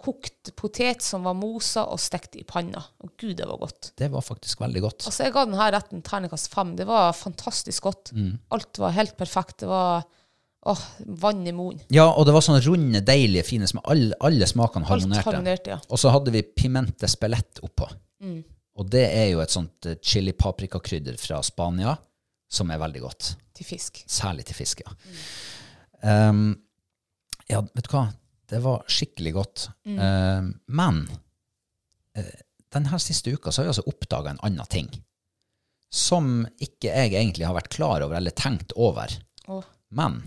[SPEAKER 2] kokt potet som var mosa og stekt i panna. Å gud, det var godt.
[SPEAKER 1] Det var faktisk veldig godt.
[SPEAKER 2] Altså, jeg ga denne retten terningkast fem. Det var fantastisk godt.
[SPEAKER 1] Mm.
[SPEAKER 2] Alt var helt perfekt. Det var åh, vann i munnen.
[SPEAKER 1] Ja, og det var sånne runde, deilige, fine som alle, alle smakene
[SPEAKER 2] Alt
[SPEAKER 1] harmonerte.
[SPEAKER 2] harmonerte, ja.
[SPEAKER 1] Og så hadde vi pimente spelett oppå.
[SPEAKER 2] Mm.
[SPEAKER 1] Og det er jo et sånt eh, chili-paprikakrydder fra Spania som er veldig godt.
[SPEAKER 2] Til fisk.
[SPEAKER 1] Særlig til fisk, ja. Ehm, ja, vet du hva? Det var skikkelig godt. Ehm, men eh, denne siste uka så har jeg altså oppdaga en annen ting som ikke jeg egentlig har vært klar over eller tenkt over.
[SPEAKER 2] Åh.
[SPEAKER 1] Men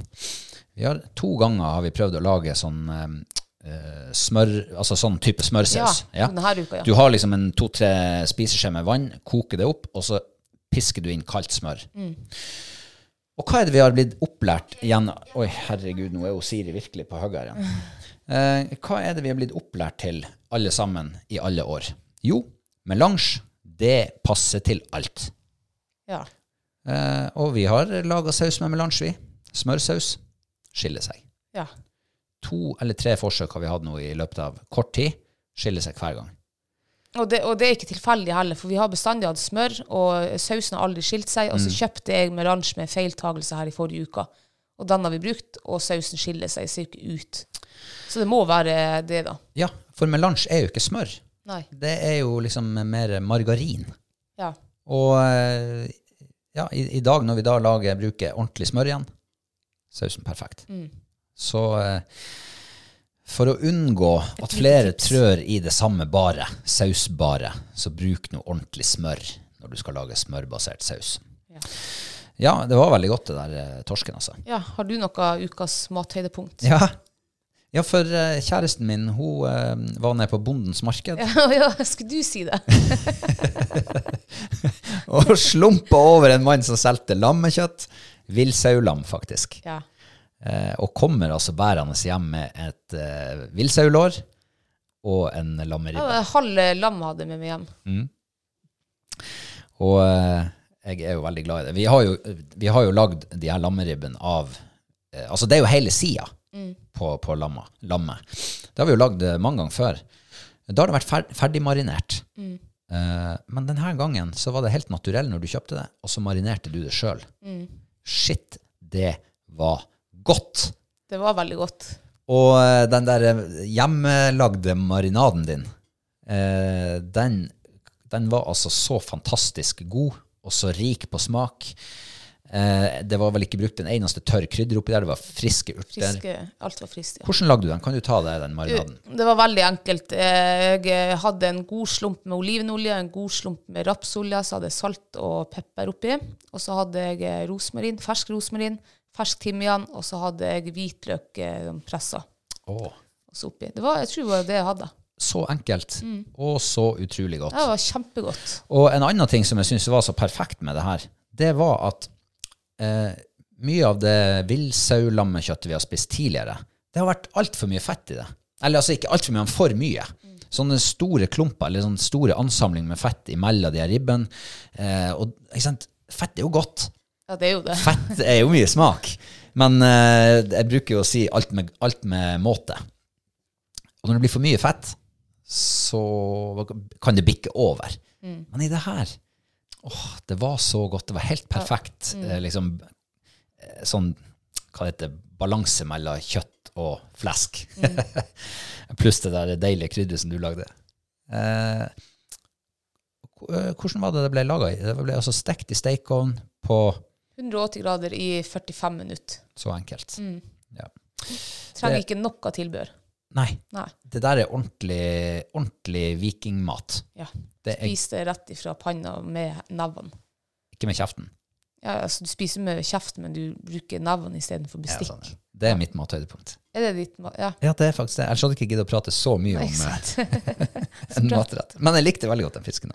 [SPEAKER 1] vi har, to ganger har vi prøvd å lage sånn eh, eh, smør, altså sånn type
[SPEAKER 2] Ja,
[SPEAKER 1] smørsaus. Ja.
[SPEAKER 2] denne uka,
[SPEAKER 1] Du
[SPEAKER 2] ja.
[SPEAKER 1] har liksom en to-tre spiseskje med vann, koker det opp, og så pisker du inn kaldt smør. Og hva er det vi har blitt opplært igjen Oi, herregud, nå er jo Siri virkelig på høyre igjen. Eh, hva er det vi har blitt opplært til, alle sammen, i alle år? Jo, melange, det passer til alt.
[SPEAKER 2] ja.
[SPEAKER 1] Eh, og vi har laga saus med melange, vi. Smørsaus skiller seg.
[SPEAKER 2] ja.
[SPEAKER 1] To eller tre forsøk har vi hatt nå i løpet av kort tid. Skiller seg hver gang.
[SPEAKER 2] Og, det, og det er ikke tilfeldig heller, for vi har bestandig hatt smør, og sausen har aldri skilt seg.
[SPEAKER 1] Mm.
[SPEAKER 2] Og så kjøpte jeg melange med feiltagelse her i forrige uke. Og den har vi brukt, og sausen skiller seg, ser ikke ut. Så det må være det, da.
[SPEAKER 1] Ja, for melange er jo ikke smør.
[SPEAKER 2] Nei.
[SPEAKER 1] Det er jo liksom mer margarin.
[SPEAKER 2] Ja.
[SPEAKER 1] Og eh, ja, i, i dag når vi da lager, bruker ordentlig smør igjen, sausen perfekt. Så eh, for å unngå at flere trør i det samme bare, sausbare, så bruk nå ordentlig smør når du skal lage smørbasert saus.
[SPEAKER 2] Ja.
[SPEAKER 1] Ja, det var veldig godt det der eh, torsken, altså.
[SPEAKER 2] ja. Har du noe ukas mathøydepunkt?
[SPEAKER 1] Ja, ja for eh, kjæresten min, hun eh, var nede på Bondens marked.
[SPEAKER 2] ja, skulle du si det?
[SPEAKER 1] og slumpa over en mann som solgte lammekjøtt. Villsaulam, faktisk.
[SPEAKER 2] Ja.
[SPEAKER 1] Eh, og kommer altså bærende hjem med et eh, villsaulår og en
[SPEAKER 2] Ja, det
[SPEAKER 1] lammeribbe.
[SPEAKER 2] var Halve lam hadde jeg med meg hjem.
[SPEAKER 1] Og eh, jeg er jo veldig glad i det. Vi har jo, vi har jo lagd de her lammeribbene av eh, Altså, det er jo hele sida på, på lamma, lammet. Det har vi jo lagd eh, mange ganger før. Da har det vært fer ferdigmarinert. Eh, men denne gangen så var det helt naturell når du kjøpte det, og så marinerte du det sjøl. Shit, det var godt!
[SPEAKER 2] Det var veldig godt.
[SPEAKER 1] Og eh, den der eh, hjemmelagde marinaden din, eh, den, den var altså så fantastisk god, og så rik på smak. Eh, det var vel ikke brukt en eneste tørr krydder oppi der, det var friske urter.
[SPEAKER 2] Friske, alt var friskt. Ja.
[SPEAKER 1] Hvordan lagde du den? Kan du ta det, den marinaden?
[SPEAKER 2] Det var veldig enkelt. Eh, Jeg hadde en god slump med olivenolje, en god slump med rapsolje, så hadde jeg salt og pepper oppi. Og så hadde jeg eh, rosmarin, fersk rosmarin, fersk timian, og så hadde jeg hvitløk eh, pressa.
[SPEAKER 1] Åh,
[SPEAKER 2] og så oppi. Det var, jeg tror det var det jeg hadde.
[SPEAKER 1] så enkelt, og så utrolig godt.
[SPEAKER 2] Det var kjempegodt.
[SPEAKER 1] Og en annen ting som jeg syns var så perfekt med det her, det var at eh, mye av det villsaulammekjøttet vi har spist tidligere, det har vært altfor mye fett i det. Eller altså ikke altfor mye, men for mye. Sånne store klumper, eller sånne store ansamling med fett imellom de her ribbene. Eh, og ikke sant? fett er jo godt.
[SPEAKER 2] Ja, det er jo det.
[SPEAKER 1] Fett er jo mye smak. Men eh, jeg bruker jo å si alt med, alt med måte. Og når det blir for mye fett, så kan det bikke over. Men i det her åh, Det var så godt. Det var helt perfekt. Eh, liksom, eh, sånn hva heter det, balanse mellom kjøtt og flesk. Pluss det der deilige krydderet som du lagde. Eh, ko- eh, hvordan var det det ble laga i? Det ble altså stekt i steikovn på
[SPEAKER 2] 180 grader i 45 minutter.
[SPEAKER 1] så
[SPEAKER 2] Mm.
[SPEAKER 1] enkelt. Ja.
[SPEAKER 2] Trenger
[SPEAKER 1] Det-
[SPEAKER 2] ikke noe tilbør.
[SPEAKER 1] Nei,
[SPEAKER 2] Nei.
[SPEAKER 1] det der er ordentlig, ordentlig vikingmat.
[SPEAKER 2] Ja.
[SPEAKER 1] Det er
[SPEAKER 2] Spis det rett ifra panna med nevene.
[SPEAKER 1] ikke med kjeften.
[SPEAKER 2] Ja, altså, du spiser med kjeften, men du bruker nevene istedenfor
[SPEAKER 1] Ja,
[SPEAKER 2] bestikk.
[SPEAKER 1] sånn. Det er mitt mathøydepunkt.
[SPEAKER 2] Er det ditt ma- Ja.
[SPEAKER 1] Ja, det er faktisk det. Ellers hadde jeg ikke giddet å prate så mye
[SPEAKER 2] Nei,
[SPEAKER 1] om
[SPEAKER 2] ikke
[SPEAKER 1] eh,
[SPEAKER 2] sant?
[SPEAKER 1] en matrett. Men jeg likte veldig godt den fisken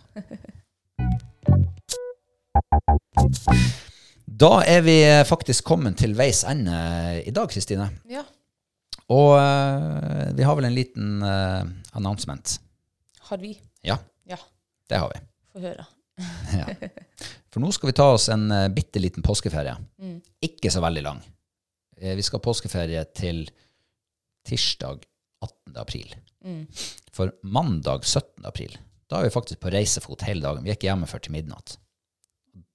[SPEAKER 1] òg. Da er vi eh, faktisk kommet til veis ende i dag, Kristine.
[SPEAKER 2] ja.
[SPEAKER 1] Og eh, vi har vel en liten eh, announcement.
[SPEAKER 2] Har vi.
[SPEAKER 1] Ja,
[SPEAKER 2] Ja.
[SPEAKER 1] det har vi.
[SPEAKER 2] Få høre.
[SPEAKER 1] Ja. For nå skal vi ta oss en eh, bitte liten påskeferie. Ikke så veldig lang. Eh, Vi skal ha påskeferie til tirsdag 18. april. For mandag 17. april, da er vi faktisk på reisefot hele dagen. Vi er ikke hjemme før til midnatt.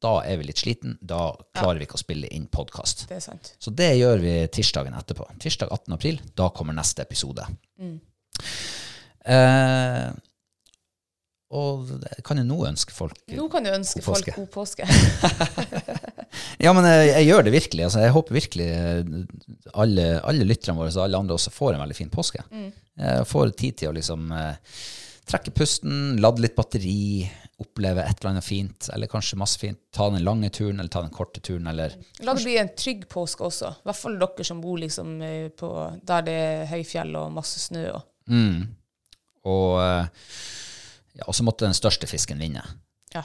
[SPEAKER 1] Da er vi litt sliten. Da klarer vi ikke å spille inn podkast.
[SPEAKER 2] Det er sant.
[SPEAKER 1] Så det gjør vi tirsdagen etterpå. Tirsdag 18. april, da kommer neste episode. Eh, og det- kan jeg nå ønske folk
[SPEAKER 2] Nå kan du ønske
[SPEAKER 1] God
[SPEAKER 2] folk
[SPEAKER 1] påske.
[SPEAKER 2] god påske.
[SPEAKER 1] Ja, men jeg, jeg gjør det virkelig. Altså, jeg håper virkelig eh, alle, alle lytterne våre og alle andre også får en veldig fin påske. Eh, Får tid til å liksom eh, trekke pusten, lade litt batteri, oppleve et eller annet fint, eller kanskje masse fint. Ta den lange turen, eller ta den korte turen, eller
[SPEAKER 2] La det bli en trygg påske også. I hvert fall dere som bor liksom eh, på der det er høyfjell og masse snø. Og.
[SPEAKER 1] mm. Og eh, ja, og så måtte den største fisken vinne,
[SPEAKER 2] Ja.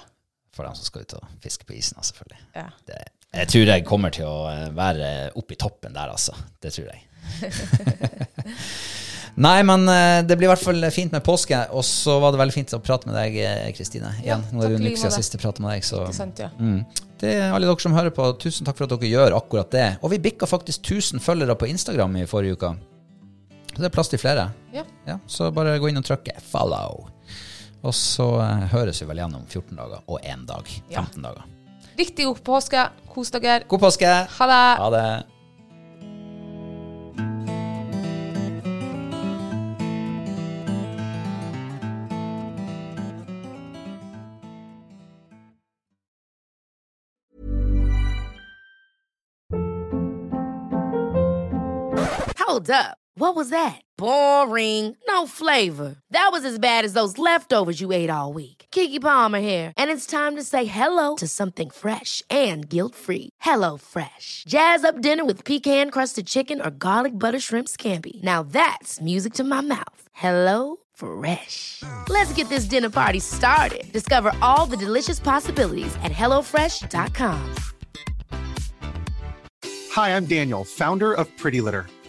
[SPEAKER 1] for dem som skal ut og fiske på isen, da, selvfølgelig.
[SPEAKER 2] ja.
[SPEAKER 1] Det, jeg tror jeg kommer til å eh, være oppe i toppen der, altså. Det tror jeg. Nei, men eh, det blir i hvert fall fint med påske. Og så var det veldig fint å prate med deg, eh, Kristine.
[SPEAKER 2] Ja,
[SPEAKER 1] Igjen. Nå er det
[SPEAKER 2] takk
[SPEAKER 1] jo en
[SPEAKER 2] like
[SPEAKER 1] uke siden
[SPEAKER 2] måte.
[SPEAKER 1] sist jeg pratet med deg. Så.
[SPEAKER 2] Ikke sant, ja.
[SPEAKER 1] Mm. Det er alle dere som hører på. Tusen takk for at dere gjør akkurat det. Og vi bikka faktisk 1000 følgere på Instagram i forrige uke. Så det er plass til flere.
[SPEAKER 2] Ja.
[SPEAKER 1] Ja, så bare gå inn og trykke 'follow'. Og så eh, høres vi vel igjen om 14 dager og 1 dag.
[SPEAKER 2] Ja.
[SPEAKER 1] 15 dager.
[SPEAKER 2] Riktig god påske. Kos dere.
[SPEAKER 1] God påske!
[SPEAKER 2] Ha det.
[SPEAKER 1] Ha det.
[SPEAKER 3] Hold up. What was that? Boring. No flavor. That was as bad as those leftovers you ate all week. Kiki Palmer here, and it's time to say hello to something fresh and guilt-free. Hello Fresh. Jazz up dinner with pecan-crusted chicken or garlic butter shrimp scampi. Now that's music to my mouth. Hello Fresh. Let's get this dinner party started. Discover all the delicious possibilities at hellofresh.com.
[SPEAKER 4] Hi, I'm Daniel, founder of Pretty Litter.